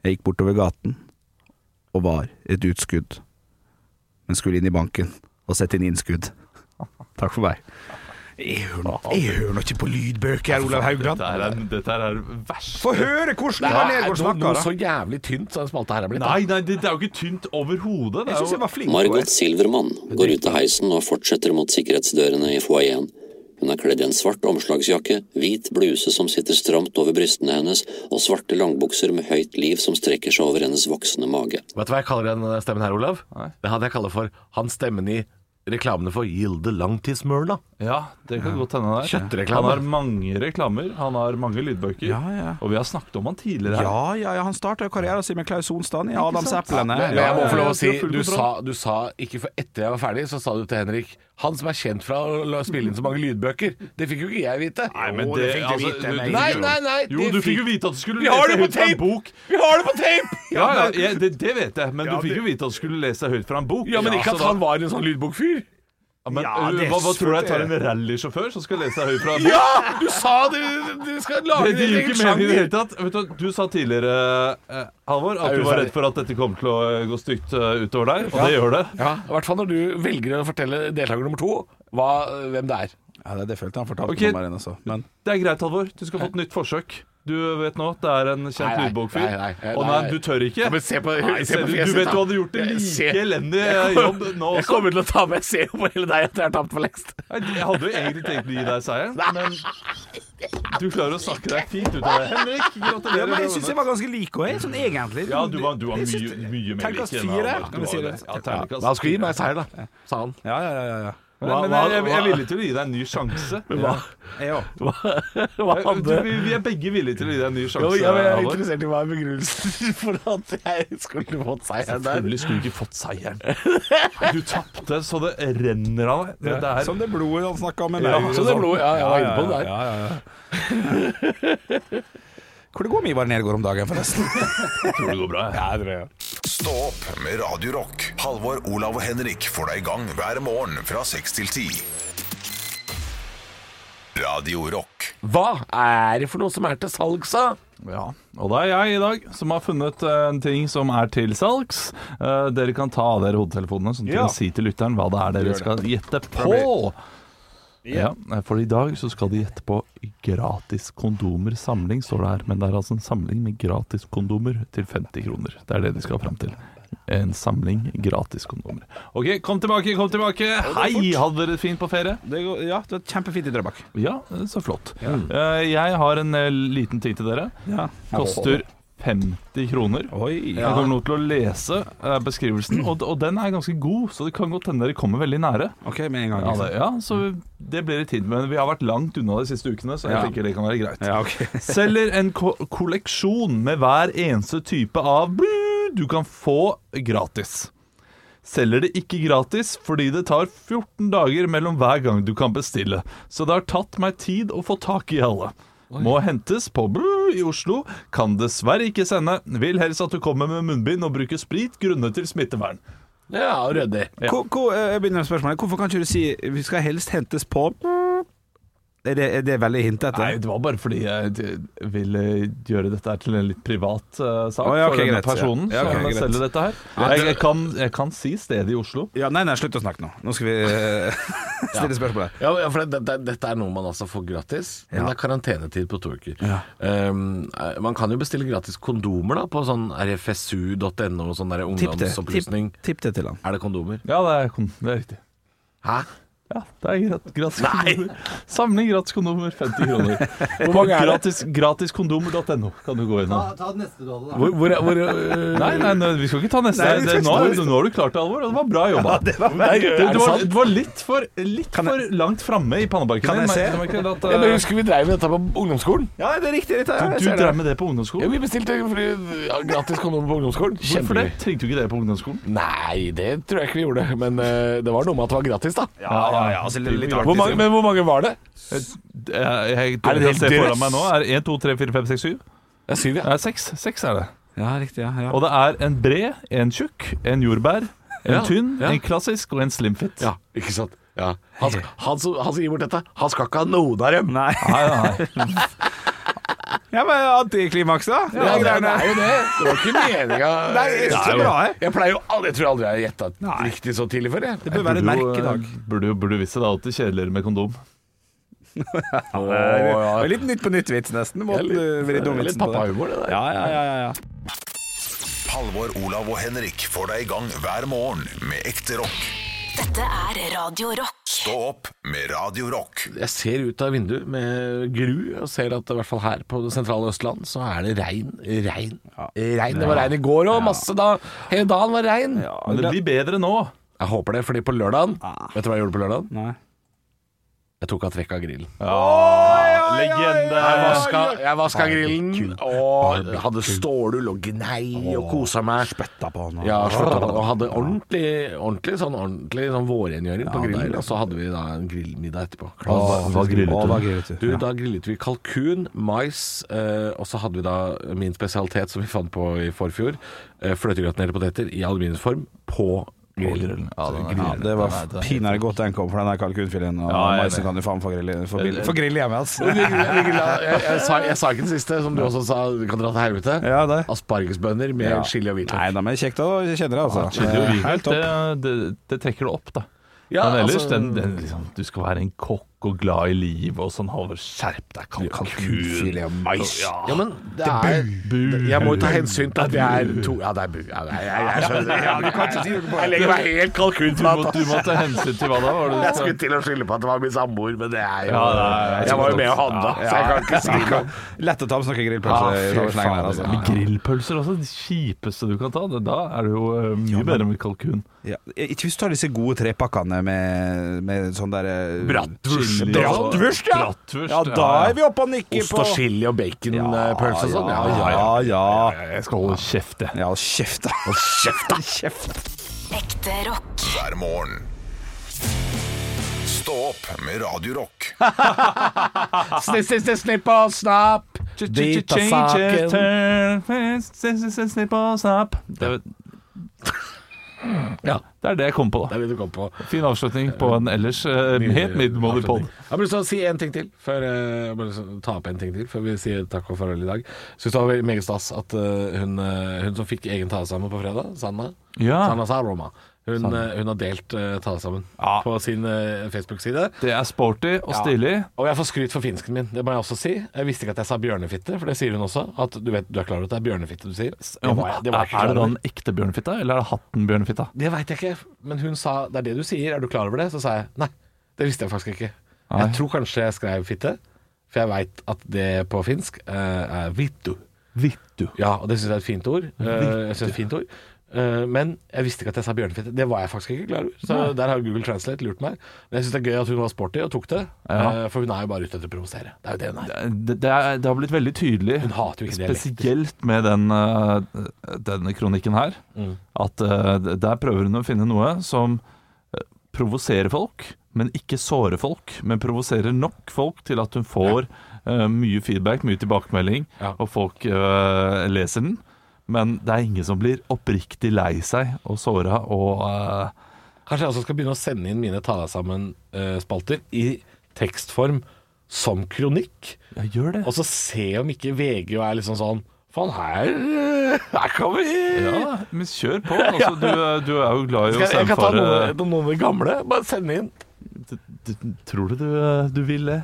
S5: Jeg gikk bortover gaten og var et utskudd, men skulle inn i banken og sette inn innskudd. Takk for meg. Jeg hører nå- jeg hører nå ikke på lydbøker her, Olav Haugland.
S3: Dette her er, dette her er verst.
S6: Få høre hvordan
S4: Det
S6: Ivar
S4: er
S6: Nergård
S4: noe,
S6: snakker,
S4: noe
S6: da.
S4: så jævlig tynt som den spalta her er blitt. da.
S3: Nei, nei, det, det er jo ikke tynt overhodet. Det
S6: Jeg
S3: er
S6: syns jeg
S3: jo
S6: var flink. på
S10: Margot
S6: det.
S10: Silvermann går ut av heisen og fortsetter mot sikkerhetsdørene i foajeen. Hun er kledd i en svart omslagsjakke, hvit bluse som sitter stramt over brystene hennes, og svarte langbukser med høyt liv som strekker seg over hennes voksende mage.
S4: Vet du hva jeg kaller den eh, stemmen her, Olav?
S3: Nei.
S4: Det hadde jeg kalt for han stemmen i reklamene for Gilde Langtidsmørla.
S3: Ja, det kan godt hende det er.
S4: Kjøttreklame.
S3: Han har mange reklamer, han har mange lydbøker.
S5: Ja, ja.
S3: Og vi har snakket om han tidligere. her.
S5: Ja, ja, ja, han starta karrieren sin med Klaus Sonstad i Adams
S3: sant?
S5: Eplene.
S4: Men jeg må
S3: ja,
S4: få lov
S3: ja,
S4: å si,
S3: du har full
S4: du sa,
S3: kontroll.
S4: du sa ikke for etter jeg var ferdig, så sa du til Henrik Han som er kjent fra å la- spille inn så mange lydbøker. Det fikk jo ikke jeg vite.
S3: Nei,
S6: Å, det fikk jeg vite,
S3: du-
S6: men-
S3: du-
S4: altså, Nei, nei, nei,
S3: Jo,
S4: det
S3: du fikk
S4: fikk-
S3: jo vite at du skulle
S4: Vi har
S3: lese
S4: det på
S3: høyt fra en
S4: tape!
S3: bok.
S4: Vi har det på tape!
S3: Ja, ja, jeg- det, det vet jeg, men
S6: Ja,
S3: du fikk
S6: det-
S3: jo vite at du skulle lese høyt fra en bok.
S4: Ja, men ikke
S3: så
S4: at
S3: altså da-
S4: han var en sånn lydbokfyr.
S3: Ja, men,
S6: Ja,
S3: uh,
S6: det
S3: hva, hva tror du jeg tar
S6: spurte
S3: en rallysjåfør som skal lese høyt fra en bok?
S4: Ja! Du sa det! Du skal lage
S3: Det, det
S4: din
S3: gir ikke mening i
S4: egen
S3: det
S4: sjanger.
S3: hele tatt. Vet du, hva, du sa tidligere, eh, Halvor, at
S4: Jeg
S3: du
S4: er
S3: var
S4: uferdig.
S3: redd for at dette kom til å eh, gå stygt eh, utover deg, og det gjør det.
S4: Ja, I hvert fall når du velger å fortelle deltaker nummer to hva, hvem det er.
S5: Ja, det, det følte jeg han fortalte
S3: Ok.
S5: meg mer enn altså. Men
S3: Det er greit, Halvor. Du skal få et nytt forsøk. Du vet nå, det er en kjent
S4: Nei, nei,
S3: lydbokfyr.
S4: nei, nei, nei,
S3: Å nei,
S4: nei.
S3: du tør ikke?
S4: Ja, men se på,
S3: Nei,
S4: se
S3: se,
S4: på
S3: du,
S4: fjeset
S3: du vet
S4: da.
S3: du hadde gjort en
S4: Jeg
S3: like
S4: ser-
S3: elendig
S4: Jeg
S3: jobb
S4: kommer-
S3: nå
S4: Jeg
S3: også.
S4: kommer til å ta med Se på hele deg at jeg har tapt for lengst.
S3: Nei, Jeg hadde jo egentlig tenkt å gi deg seieren, men du klarer å snakke deg fint ut av det. Henrik,
S6: Ja,
S3: gratulerer.
S6: men jeg
S3: du har
S6: syns jeg
S3: vunnet.
S6: var ganske like òg, sånn egentlig.
S3: ja, du var, du var
S6: Jeg synes
S3: mye,
S6: det-
S3: mye mer
S6: Terningkast
S3: lik enn
S6: fire,
S3: Halvor.
S6: kan vi
S3: Du
S6: si
S3: var
S6: det?
S3: det. Ja,
S4: Men
S3: terningkast
S4: han skulle gi meg seier, da, sa han.
S5: ja, ja, ja. ja, ja.
S3: Men, men
S4: Hva-
S3: jeg, jeg er
S4: hva-
S3: villig til å gi deg en ny sjanse. Ja.
S5: Jeg òg.
S4: Hva, hva
S3: Du,
S4: hadde
S3: vi, vi er begge villige til å gi deg en ny
S4: jo,
S3: sjanse.
S4: ja, men Jeg er
S3: Halvor.
S4: interessert i hva er begrunnelsen for at jeg skulle fått seieren der.
S3: Selvfølgelig skulle du ikke fått seieren. Du tapte så det renner av deg. Det, det er
S6: Sånn
S5: Som det blodet han snakka om med
S4: Ja,
S5: meg.
S4: så det er blod, ja, jeg var inne på det der.
S5: Ja, ja, ja. Hvor det går med Ivar Nergård om dagen, forresten?
S3: tror det går bra. Jeg.
S1: Stå opp med Radio Rock. Halvor, Olav og Henrik får deg i gang hver morgen fra 6 til 10. Radio Rock.
S4: Hva er det for noe som er til salgs, da?
S3: Ja, og det er jeg i dag som har funnet eh, en ting som er til salgs. Eh, dere kan ta av dere hodetelefonene, sånn at dere
S6: Ja.
S3: kan si til lytteren hva det er dere skal gjette på. Ja, eh, for i dag så skal de gjette på gratis kondomer samling, står det her. Men det er altså en samling med gratis kondomer til 50 kroner. Det er det de skal fram til. En samling gratis kondomer. OK, kom tilbake, kom tilbake! Hei, hadde dere det fint på ferie?
S6: Det går, ja, det var kjempefint i Drøbak.
S3: Ja, så flott. Eh, jeg har en eh, liten ting til dere.
S6: Ja.
S3: Koster 50 kroner.
S6: Oi.
S3: Jeg kommer nå til å lese eh,
S6: Mm.
S3: beskrivelsen, og, og den er ganske god, så det kan godt hende dere kommer veldig nære.
S6: OK, med en gang.
S3: Ja,
S6: liksom.
S3: det, ja, så det blir i tid, men vi har vært langt unna de siste ukene, så jeg
S6: Ja.
S3: tenker det kan være greit.
S6: Ja, ok.
S3: Selger en ko kolleksjon med hver eneste type av blu du kan få gratis. Selger det ikke gratis fordi det tar 14 dager mellom hver gang du kan bestille. Så det har tatt meg tid å få tak i alle. Må hentes på blu i Oslo. Kan dessverre ikke sende. Vil helst at du kommer med munnbind og bruker sprit grunnet til smittevern.
S4: Ja, ryddig.
S6: Hvor- hvor- eh, jeg begynner med spørsmålet. Hvorfor kan ikke du si vi skal helst hentes på Er det, er det veldig hint etter?
S3: Nei, det var bare fordi jeg d- ville gjøre dette her til en litt privat eh, sak
S6: Å, ja, ok,
S3: for denne
S6: greit, ja.
S3: personen
S6: Ja, ok,
S3: som
S6: greit.
S3: selger dette her. jeg, jeg, kan, jeg kan si stedet i Oslo.
S6: Ja, nei, nei, slutt å snakke nå. Nå skal vi eh, stille spørsmål her.
S4: Ja, ja, for det, det, Dette er noe man altså får gratis, men det er karantenetid på to uker. Um, eh, man kan jo bestille gratis kondomer da på sånn rfsu.no, sånn
S5: Tipp
S4: der
S5: det.
S4: ungdomsopplysning.
S5: Tipp, tipp det til han.
S4: Er det kondomer?
S3: Ja, det er, kon- det er riktig.
S4: Hæ?
S3: Ja, det er grat- gratis kondomer. Samling gratis kondomer, 50 kroner. Hvor
S4: mange er det?
S3: Gratis, gratiskondomer.no kan du gå innom.
S11: Ta den neste du hadde, da.
S4: Hvor, hvor, hvor, øh,
S3: Nei, nei, nei, vi skal ikke ta neste.
S6: Nei, vi skal
S3: det,
S6: ikke
S3: nå,
S6: ta neste.
S3: nå har du klart det, Alvor, og det var bra jobba. det,
S4: er
S3: det,
S4: det
S3: var,
S4: sant?
S3: det var litt for, litt for langt framme i pannebarken.
S6: Kan jeg
S3: din.
S6: se?
S3: Merker du ikke at,
S4: jeg bare
S3: eh,
S4: husker vi dreiv med dette på ungdomsskolen.
S6: Ja, det er riktig. Dette, er- jeg
S3: Du
S6: ser
S3: drev
S6: det.
S3: med det på ungdomsskolen?
S4: Ja, vi bestilte fri- ja, gratis kondomer på ungdomsskolen.
S3: Hvorfor det?
S4: Kjempegøy.
S3: Trengte du ikke det på ungdomsskolen?
S4: Nei, det tror jeg ikke vi gjorde. Men eh, det var noe med at det var gratis, da.
S6: Ja, ja, ja, altså, litt, litt
S4: Hvor
S6: artig.
S4: mange, men hvor mange var det?
S3: Jeg, jeg, jeg,
S4: Er det
S3: jeg
S4: helt
S3: ser
S4: drøss?
S3: foran meg nå er 1, 2, 3, 4, 5, 6, 7
S4: Det er syv, ja.
S3: Nei, 6, 6 er det
S6: Ja, riktig, ja, ja.
S3: Og det er en bred, en tjukk, en jordbær En
S4: Ja,
S3: tynn,
S4: ja.
S3: en klassisk og en slimfit
S4: ja. Ikke sant? Ja. Han, han, som, han som gir bort dette, han skal ikke ha noen av dem.
S6: Nei.
S3: Nei, nei, nei.
S6: Ja, men antiklimaks, da?
S4: Ja, det,
S6: greiene.
S4: er jo det. Det var ikke meninga.
S6: Nei, det er så bra, jeg.
S4: Jeg pleier jo aldri, jeg tror aldri jeg har gjetta riktig så tidlig før. Jeg.
S6: Det bør være et
S3: Jo,
S6: merke i dag.
S3: eh, Burde jo- burde jo visst det, det er alltid kjedeligere med kondom
S4: eh,
S6: Det er Litt Nytt på nytt-vits, nesten. Måten
S4: litt-
S6: du vrir
S4: det er litt
S6: dumvitsen på. det.
S4: pappahumor, det der.
S6: Ja, ja, ja, ja, ja.
S1: Halvor, Olav og Henrik får deg i gang hver morgen med ekte rock.
S2: Dette er Radio Rock.
S1: Stå opp med Radio Rock.
S4: Jeg ser ut av vinduet med gru og ser at i hvert fall her på det sentrale Østland så er det regn, regn, regn. Det var regn i går òg, masse da. Hele dagen var regn.
S3: Men det blir bedre nå
S4: Jeg håper det, fordi på lørdagen
S6: Ah.
S4: Vet du hva jeg gjorde på lørdagen?
S6: Nei.
S4: Jeg tok av trekk av grillen.
S3: Legende
S4: Jeg
S6: Ah,
S4: vaska, jeg vaska grillen og hadde stålull og gnei og kosa meg.
S5: Spytta på han.
S4: Ja, slutta på det. Og hadde ordentlig, ordentlig sånn, ordentlig sånn vårrengjøring på grillen. Og så hadde vi da en grillmiddag etterpå.
S3: hva
S5: Å,
S3: grillet
S5: da
S3: du?
S5: grillet du.
S4: Du, Da grillet vi kalkun, mais, eh, og så hadde vi da min spesialitet som vi fant på i forfjor. Eh, Fløtegratinerte poteter i aluminiumsform på grillen.
S3: Ja, den er-
S5: Ja, det var pinadø godt den kom, for den der kalkunfileten og
S3: Ja, jeg er
S5: maisen
S3: enig.
S5: kan du faen få grille, få bil- få grille hjemme, altså.
S4: Vi grilla- vi grilla- Jeg, jeg, sa, jeg sa ikke den siste, som du også sa du kan dra til helvete.
S5: Ja, det.
S4: Aspargesbønner med
S5: Ja.
S4: chili og hvitløk.
S5: Nei da, men kjekt å kjenne deg, altså.
S3: Chili og
S5: Eh, helt
S3: hvitløk,
S5: topp.
S3: det, det, det trekker det opp da
S4: Ja,
S3: Men ellers,
S4: altså-
S3: den, den, liksom, du skal være en kokk og glad i liv og sånn Halvor, skjerp deg, kalkun
S5: Kalkunfilet og mais.
S4: Ja, men det er Jeg må jo ta hensyn til at vi er to Ja, det er bu. Ja, det er, jeg, jeg skjønner det. Jeg legger meg helt
S3: Du må,
S4: kalkunflat.
S3: du må ta hensyn til hva da var det du
S4: Jeg
S3: sa?
S4: skulle til å skylde på at det var min samboer, men det er jo
S3: Ja, nei, jeg
S4: Jeg
S3: skjønner
S4: var jo med og handla, så jeg kan ikke si noe.
S5: Lett å ta med snakke grillpølse i
S4: fy
S5: slengen her, altså.
S4: faen.
S3: Men grillpølser også, det kjipeste du kan ta. Det, da er det jo eh, mye bedre med kalkun.
S5: Ja. Eh, Ikke hvis du tar disse gode trepakkene med, med sånn derre
S4: Bratwurst.
S3: Chili og-
S5: Bratwurst, ja!
S3: Bratwurst,
S5: Ja, da er vi oppe og nikker
S4: Ost
S5: på
S4: og chili og baconpølse og sånn.
S5: Ja,
S4: Ja,
S5: ja,
S4: ja.
S5: ja.
S3: Jeg skal holde kjeft, jeg.
S5: Ja, kjeft, da.
S4: Kjeft, da!
S2: Ekte rock.
S1: hver morgen. Stå opp med Radio Rock.
S4: Snipp, snipp, snipp, snipp og snapp. Dit av saken.
S3: Turn, fist, snipp og snapp. Det,
S4: Ja,
S3: Det er det jeg kom på,
S4: Det
S3: da.
S4: er det du kom på.
S3: Fin avslutning på en ellers eh, helt middelmådig podd.
S4: Jeg har bare lyst til å si en ting til før, eh, jeg har bare lyst til å ta opp en ting til før vi sier takk og farvel i dag. Syns det var veldig meget stas at eh, hun, eh, hun som fikk egen tale sammen på fredag, Sanna
S3: Ja.
S4: Sanna Saroma, hun, eh, hun har delt eh, tale sammen
S3: Ja.
S4: på sin eh, Facebook-side.
S3: Det er sporty og stilig.
S4: Ja. Og jeg får skryt for finsken min, det må jeg også si. Jeg visste ikke at jeg sa bjørnefitte, for det sier hun også. At du vet, du er klar over at det er bjørnefitte du sier? Det var jeg- det var
S3: er
S4: jeg ikke
S3: det da
S4: klar over.
S3: den ekte bjørnefitta, eller er det hatten bjørnefitta?
S4: Det veit jeg ikke, men hun sa det er det du sier, er du klar over det? Så sa jeg nei, det visste jeg faktisk ikke. Jeg tror kanskje jeg skrev fitte, for jeg veit at det på finsk eh, er vittu.
S3: Vittu.
S4: Ja, og det syns jeg er et fint ord. Eh, jeg synes det er et fint ord. Eh, men jeg visste ikke at jeg sa bjørnefitte. Det var jeg faktisk ikke klar over. Så der har Google Translate lurt meg. Men jeg syns det er gøy at hun var sporty og tok det,
S3: Ja.
S4: eh, for hun er jo bare ute etter å provosere. Det er jo det hun er.
S3: Det, det, er, det har blitt veldig tydelig,
S4: Hun hater jo ikke dialekter.
S3: spesielt med den, eh, denne kronikken her,
S4: Mm.
S3: at eh, der prøver hun å finne noe som eh, provoserer folk, men ikke sårer folk, men provoserer nok folk til at hun får eh, mye feedback, mye tilbakemelding,
S4: Ja.
S3: og folk eh, leser den. Men det er ingen som blir oppriktig lei seg og såra og eh,
S4: Kanskje jeg også skal begynne å sende inn mine ta deg sammen-spalter i tekstform som kronikk.
S3: Ja, gjør det.
S4: Og så se om ikke VG er liksom sånn Faen, her, eh, her kan vi
S3: Ja, men kjør på. Altså, du, eh, du er jo glad i
S4: Skal
S3: å
S4: jeg, jeg kan ta
S3: sandfare
S4: noen, noen av de gamle. Bare sende inn.
S3: Du- du- Tror du du, eh, du vil det?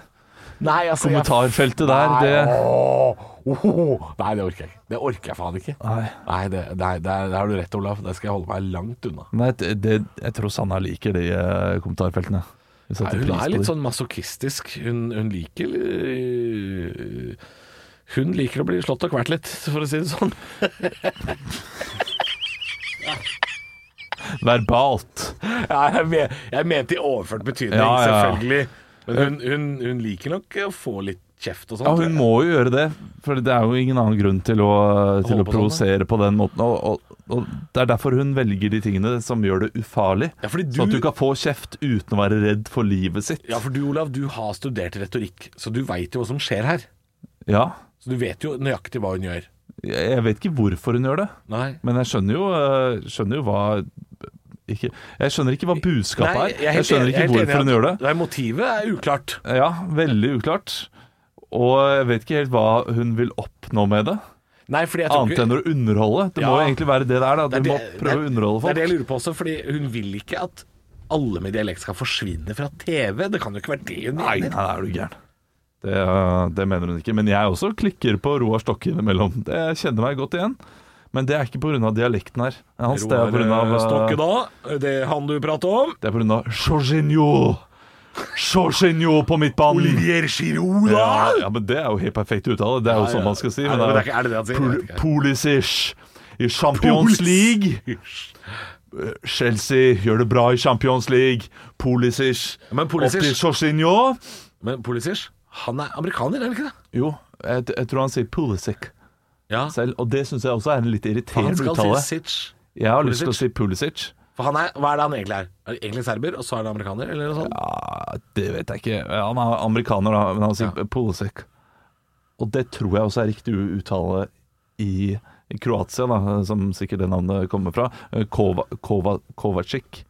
S4: Nei, altså jeg-
S3: Kommentarfeltet der,
S4: Nei,
S3: det
S4: åh, ohoho. nei, det orker jeg ikke. Det orker jeg faen ikke.
S3: Nei.
S4: Nei, det, nei der, der har du rett, Olav. Der skal jeg holde meg langt unna.
S3: Nei, det, det, jeg tror Sanna liker de eh, kommentarfeltene. Vi
S4: Nei,
S3: setter
S4: hun
S3: pris
S4: er
S3: på
S4: litt
S3: de.
S4: sånn masochistisk. Hun, hun liker øh, Hun liker å bli slått og kvert litt, for å si det sånn.
S3: Verbalt.
S4: Ja, jeg, men, jeg mente i overført betydning,
S3: Ja, ja, ja.
S4: selvfølgelig. Men hun, hun, hun liker nok å få litt kjeft og sånt.
S3: Ja, hun må jo gjøre det, for det er jo ingen annen grunn til å, til å
S4: Holde på sånn,
S3: provosere på den måten. Og, og, og det er derfor hun velger de tingene som gjør det ufarlig.
S4: Ja, fordi du-
S3: Sånn at du kan få kjeft uten å være redd for livet sitt.
S4: Ja, for du Olav, du har studert retorikk, så du veit jo hva som skjer her.
S3: Ja.
S4: Så du vet jo nøyaktig hva hun gjør.
S3: Jeg jeg vet ikke hvorfor hun gjør det,
S4: Nei.
S3: men jeg skjønner jo, eh, skjønner jo hva ikke, Jeg skjønner ikke hva budskapet
S4: Nei,
S3: er.
S4: er
S3: Jeg,
S4: helt
S3: skjønner
S4: enig- jeg
S3: ikke
S4: er helt enig i
S3: hvorfor hun
S4: at-
S3: gjør det.
S4: Nei, motivet er uklart.
S3: Ja, veldig uklart. Og jeg vet ikke helt hva hun vil oppnå med det.
S4: Nei, fordi jeg tror
S3: Annet
S4: ikke-
S3: enn å underholde. Det må
S4: Ja.
S3: jo egentlig være det det er. da Du
S4: Det er
S3: må
S4: det-
S3: prøve
S4: det
S3: å
S4: er-
S3: underholde
S4: Det er det jeg
S3: folk.
S4: lurer på også, fordi hun vil ikke at alle med dialekt skal forsvinne fra TV. Det kan jo ikke være det hun
S3: Nei,
S4: mener.
S3: nei, er du gæren. Det, øh, det mener hun ikke. Men jeg også klikker på Roar Stokke innimellom. Det kjenner meg godt igjen. Men det er ikke pga. dialekten her. Hans, det er pga.
S4: Roar, eh, Stokke da, det er han du prater om.
S3: Det er på grunn av Jorginho. Jorginho på midtbanen. Olivier Giroud, Ja, ja, men det er jo helt perfekt uttale. Det er jo sånn man skal si.
S4: Ja,
S3: Men det
S4: men det er
S3: er,
S4: ikke- er det det han sier? Jeg vet ikke.
S3: Pulisic i Champions League. Eh, Chelsea gjør det bra i Champions League. Pulisic
S4: Ja, men Pulisic-
S3: opp til Jorginho.
S4: Men Pulisic, han er amerikaner, er han ikke det?
S3: Jo, jeg, jeg tror han sier Pulisic
S4: Ja.
S3: selv, og det syns jeg også er en litt
S4: Han
S3: irriterende
S4: skal
S3: uttale.
S4: si Sitch.
S3: Jeg har lyst til å
S4: Pulisic.
S3: si Pulisic.
S4: For han er, hva er det han egentlig er? Er det egentlig serber, og så er han amerikaner, eller noe sånt?
S3: Ja, det vet jeg ikke. Ja, Han er amerikaner, da, men han sier Pulisic. Og det tror jeg også er riktig u- uttale i Kroatia, da, som sikkert det navnet kommer fra. Eh, Kova, Kova, Kovacic,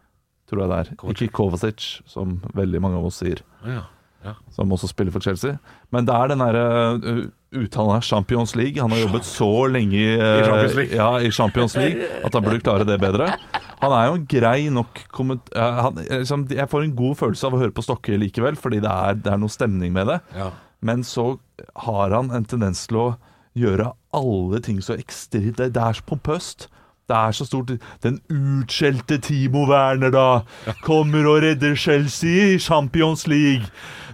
S3: tror jeg det er. Ikke Kovacic, som veldig mange av oss sier.
S4: Ja. ja.
S3: Som også spiller for Chelsea. Men det er den derre uttalen her, Champions League. Han har jobbet så lenge i, eh,
S4: I Champions League.
S3: ja, i Champions League at han burde klare det bedre. Han er jo en grei nok komment... eh, Han, eh, liksom, jeg får en god følelse av å høre på Stokke likevel, fordi det er, det er noe stemning med det.
S4: Ja.
S3: Men så har han en tendens til å gjøre alle ting så ekstremt Det det er så pompøst. Det er så stort Den utskjelte Timo Werner, da, kommer og redder Chelsea i Champions League.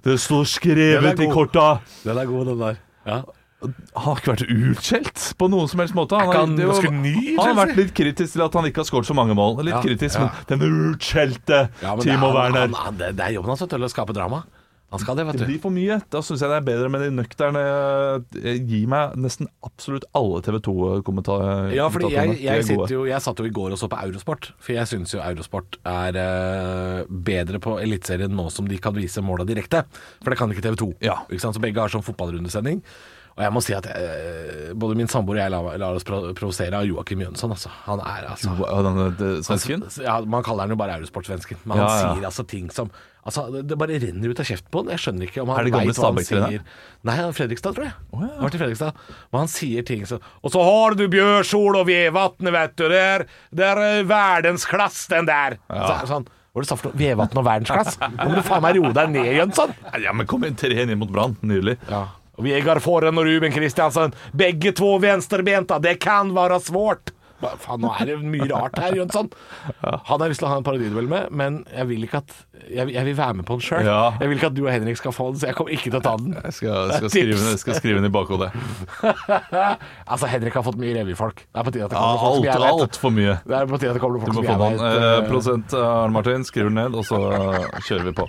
S3: Det står skrevet
S4: Den er
S3: i
S4: god.
S3: korta.
S4: Den er god, den der. Ja.
S3: Han har ikke vært utskjelt på noen som helst måte. Han,
S4: Er ikke han
S3: det er jo-
S4: ganske ny i
S3: han har vært
S4: Chelsea?
S3: litt kritisk til at han ikke har skåret så mange mål. Litt
S4: Ja,
S3: kritisk,
S4: ja.
S3: men den utskjelte
S4: Ja, men det er-
S3: Timo
S4: han-
S3: Werner
S4: han- han- Det det er jobben hans, vet du, å skape drama. Han skal det, vet
S3: Det
S4: du.
S3: blir for mye. Da syns jeg det er bedre med de nøkterne. Eh, Gi meg nesten absolutt alle TV eh, 2-kommentatorene.
S4: Ja, fordi jeg, jeg, sitter jo, jeg satt jo i går og så på Eurosport, for jeg syns jo Eurosport er eh, bedre på Eliteserien nå som de kan vise måla direkte. For det kan ikke TV 2.
S3: Ja.
S4: Ikke sant? Så begge har sånn fotballrundesending. Og jeg må si at eh, både min samboer og jeg lar, lar oss pro- provosere av Joakim Jønsson, altså. Han er altså
S3: Og denne eh, svensken?
S4: Altså, Ja, man kaller han jo bare eurosportsvensken, men
S3: Ja,
S4: han
S3: ja.
S4: sier altså ting som Altså, det det bare renner ut av kjeften på han. Jeg skjønner ikke om han
S3: Er det gamle
S4: vet hva han
S3: Stabæk-treneren?
S4: sier. Nei, han er Fredrikstad, tror jeg. Han var til Fredrikstad. Men han sier ting som Og så har du Bjørsol og Vevatn, vet du. Det er, det er eh, verdensklass, den der. Så, sånn, var det saft og Vevatn og verdensklass? Nå må du faen meg roe deg ned, Jønsson.
S3: Ja, men kom igjen, 3-1 inn mot Brann. Nydelig.
S4: Ja. Og Vegard Forhen og Ruben Kristiansen, begge to venstrebenta. Det kan være svårt. Hva Faen, nå er det mye rart her, Jønsson. Han har jeg lyst til å ha en parodiduell med, men jeg vil ikke at Jeg, jeg vil være med på den sjøl.
S3: Ja.
S4: Jeg vil ikke at du og Henrik skal få den, så jeg kommer ikke til å ta den.
S3: Jeg skal, skal,
S4: Det er
S3: skrive, ned- skal skrive den i bakhodet.
S4: altså, Henrik har fått mye revyfolk. Det er på tide at det
S3: Ja,
S4: kommer folk som
S3: alt,
S4: jeg vet.
S3: alt for mye.
S4: Det er på tide at det kommer
S3: Du
S4: folk
S3: må
S4: som
S3: få
S4: jeg
S3: den. Eh,
S4: vet.
S3: Prosent Arne Martin, skriv den ned, og så eh, kjører vi på.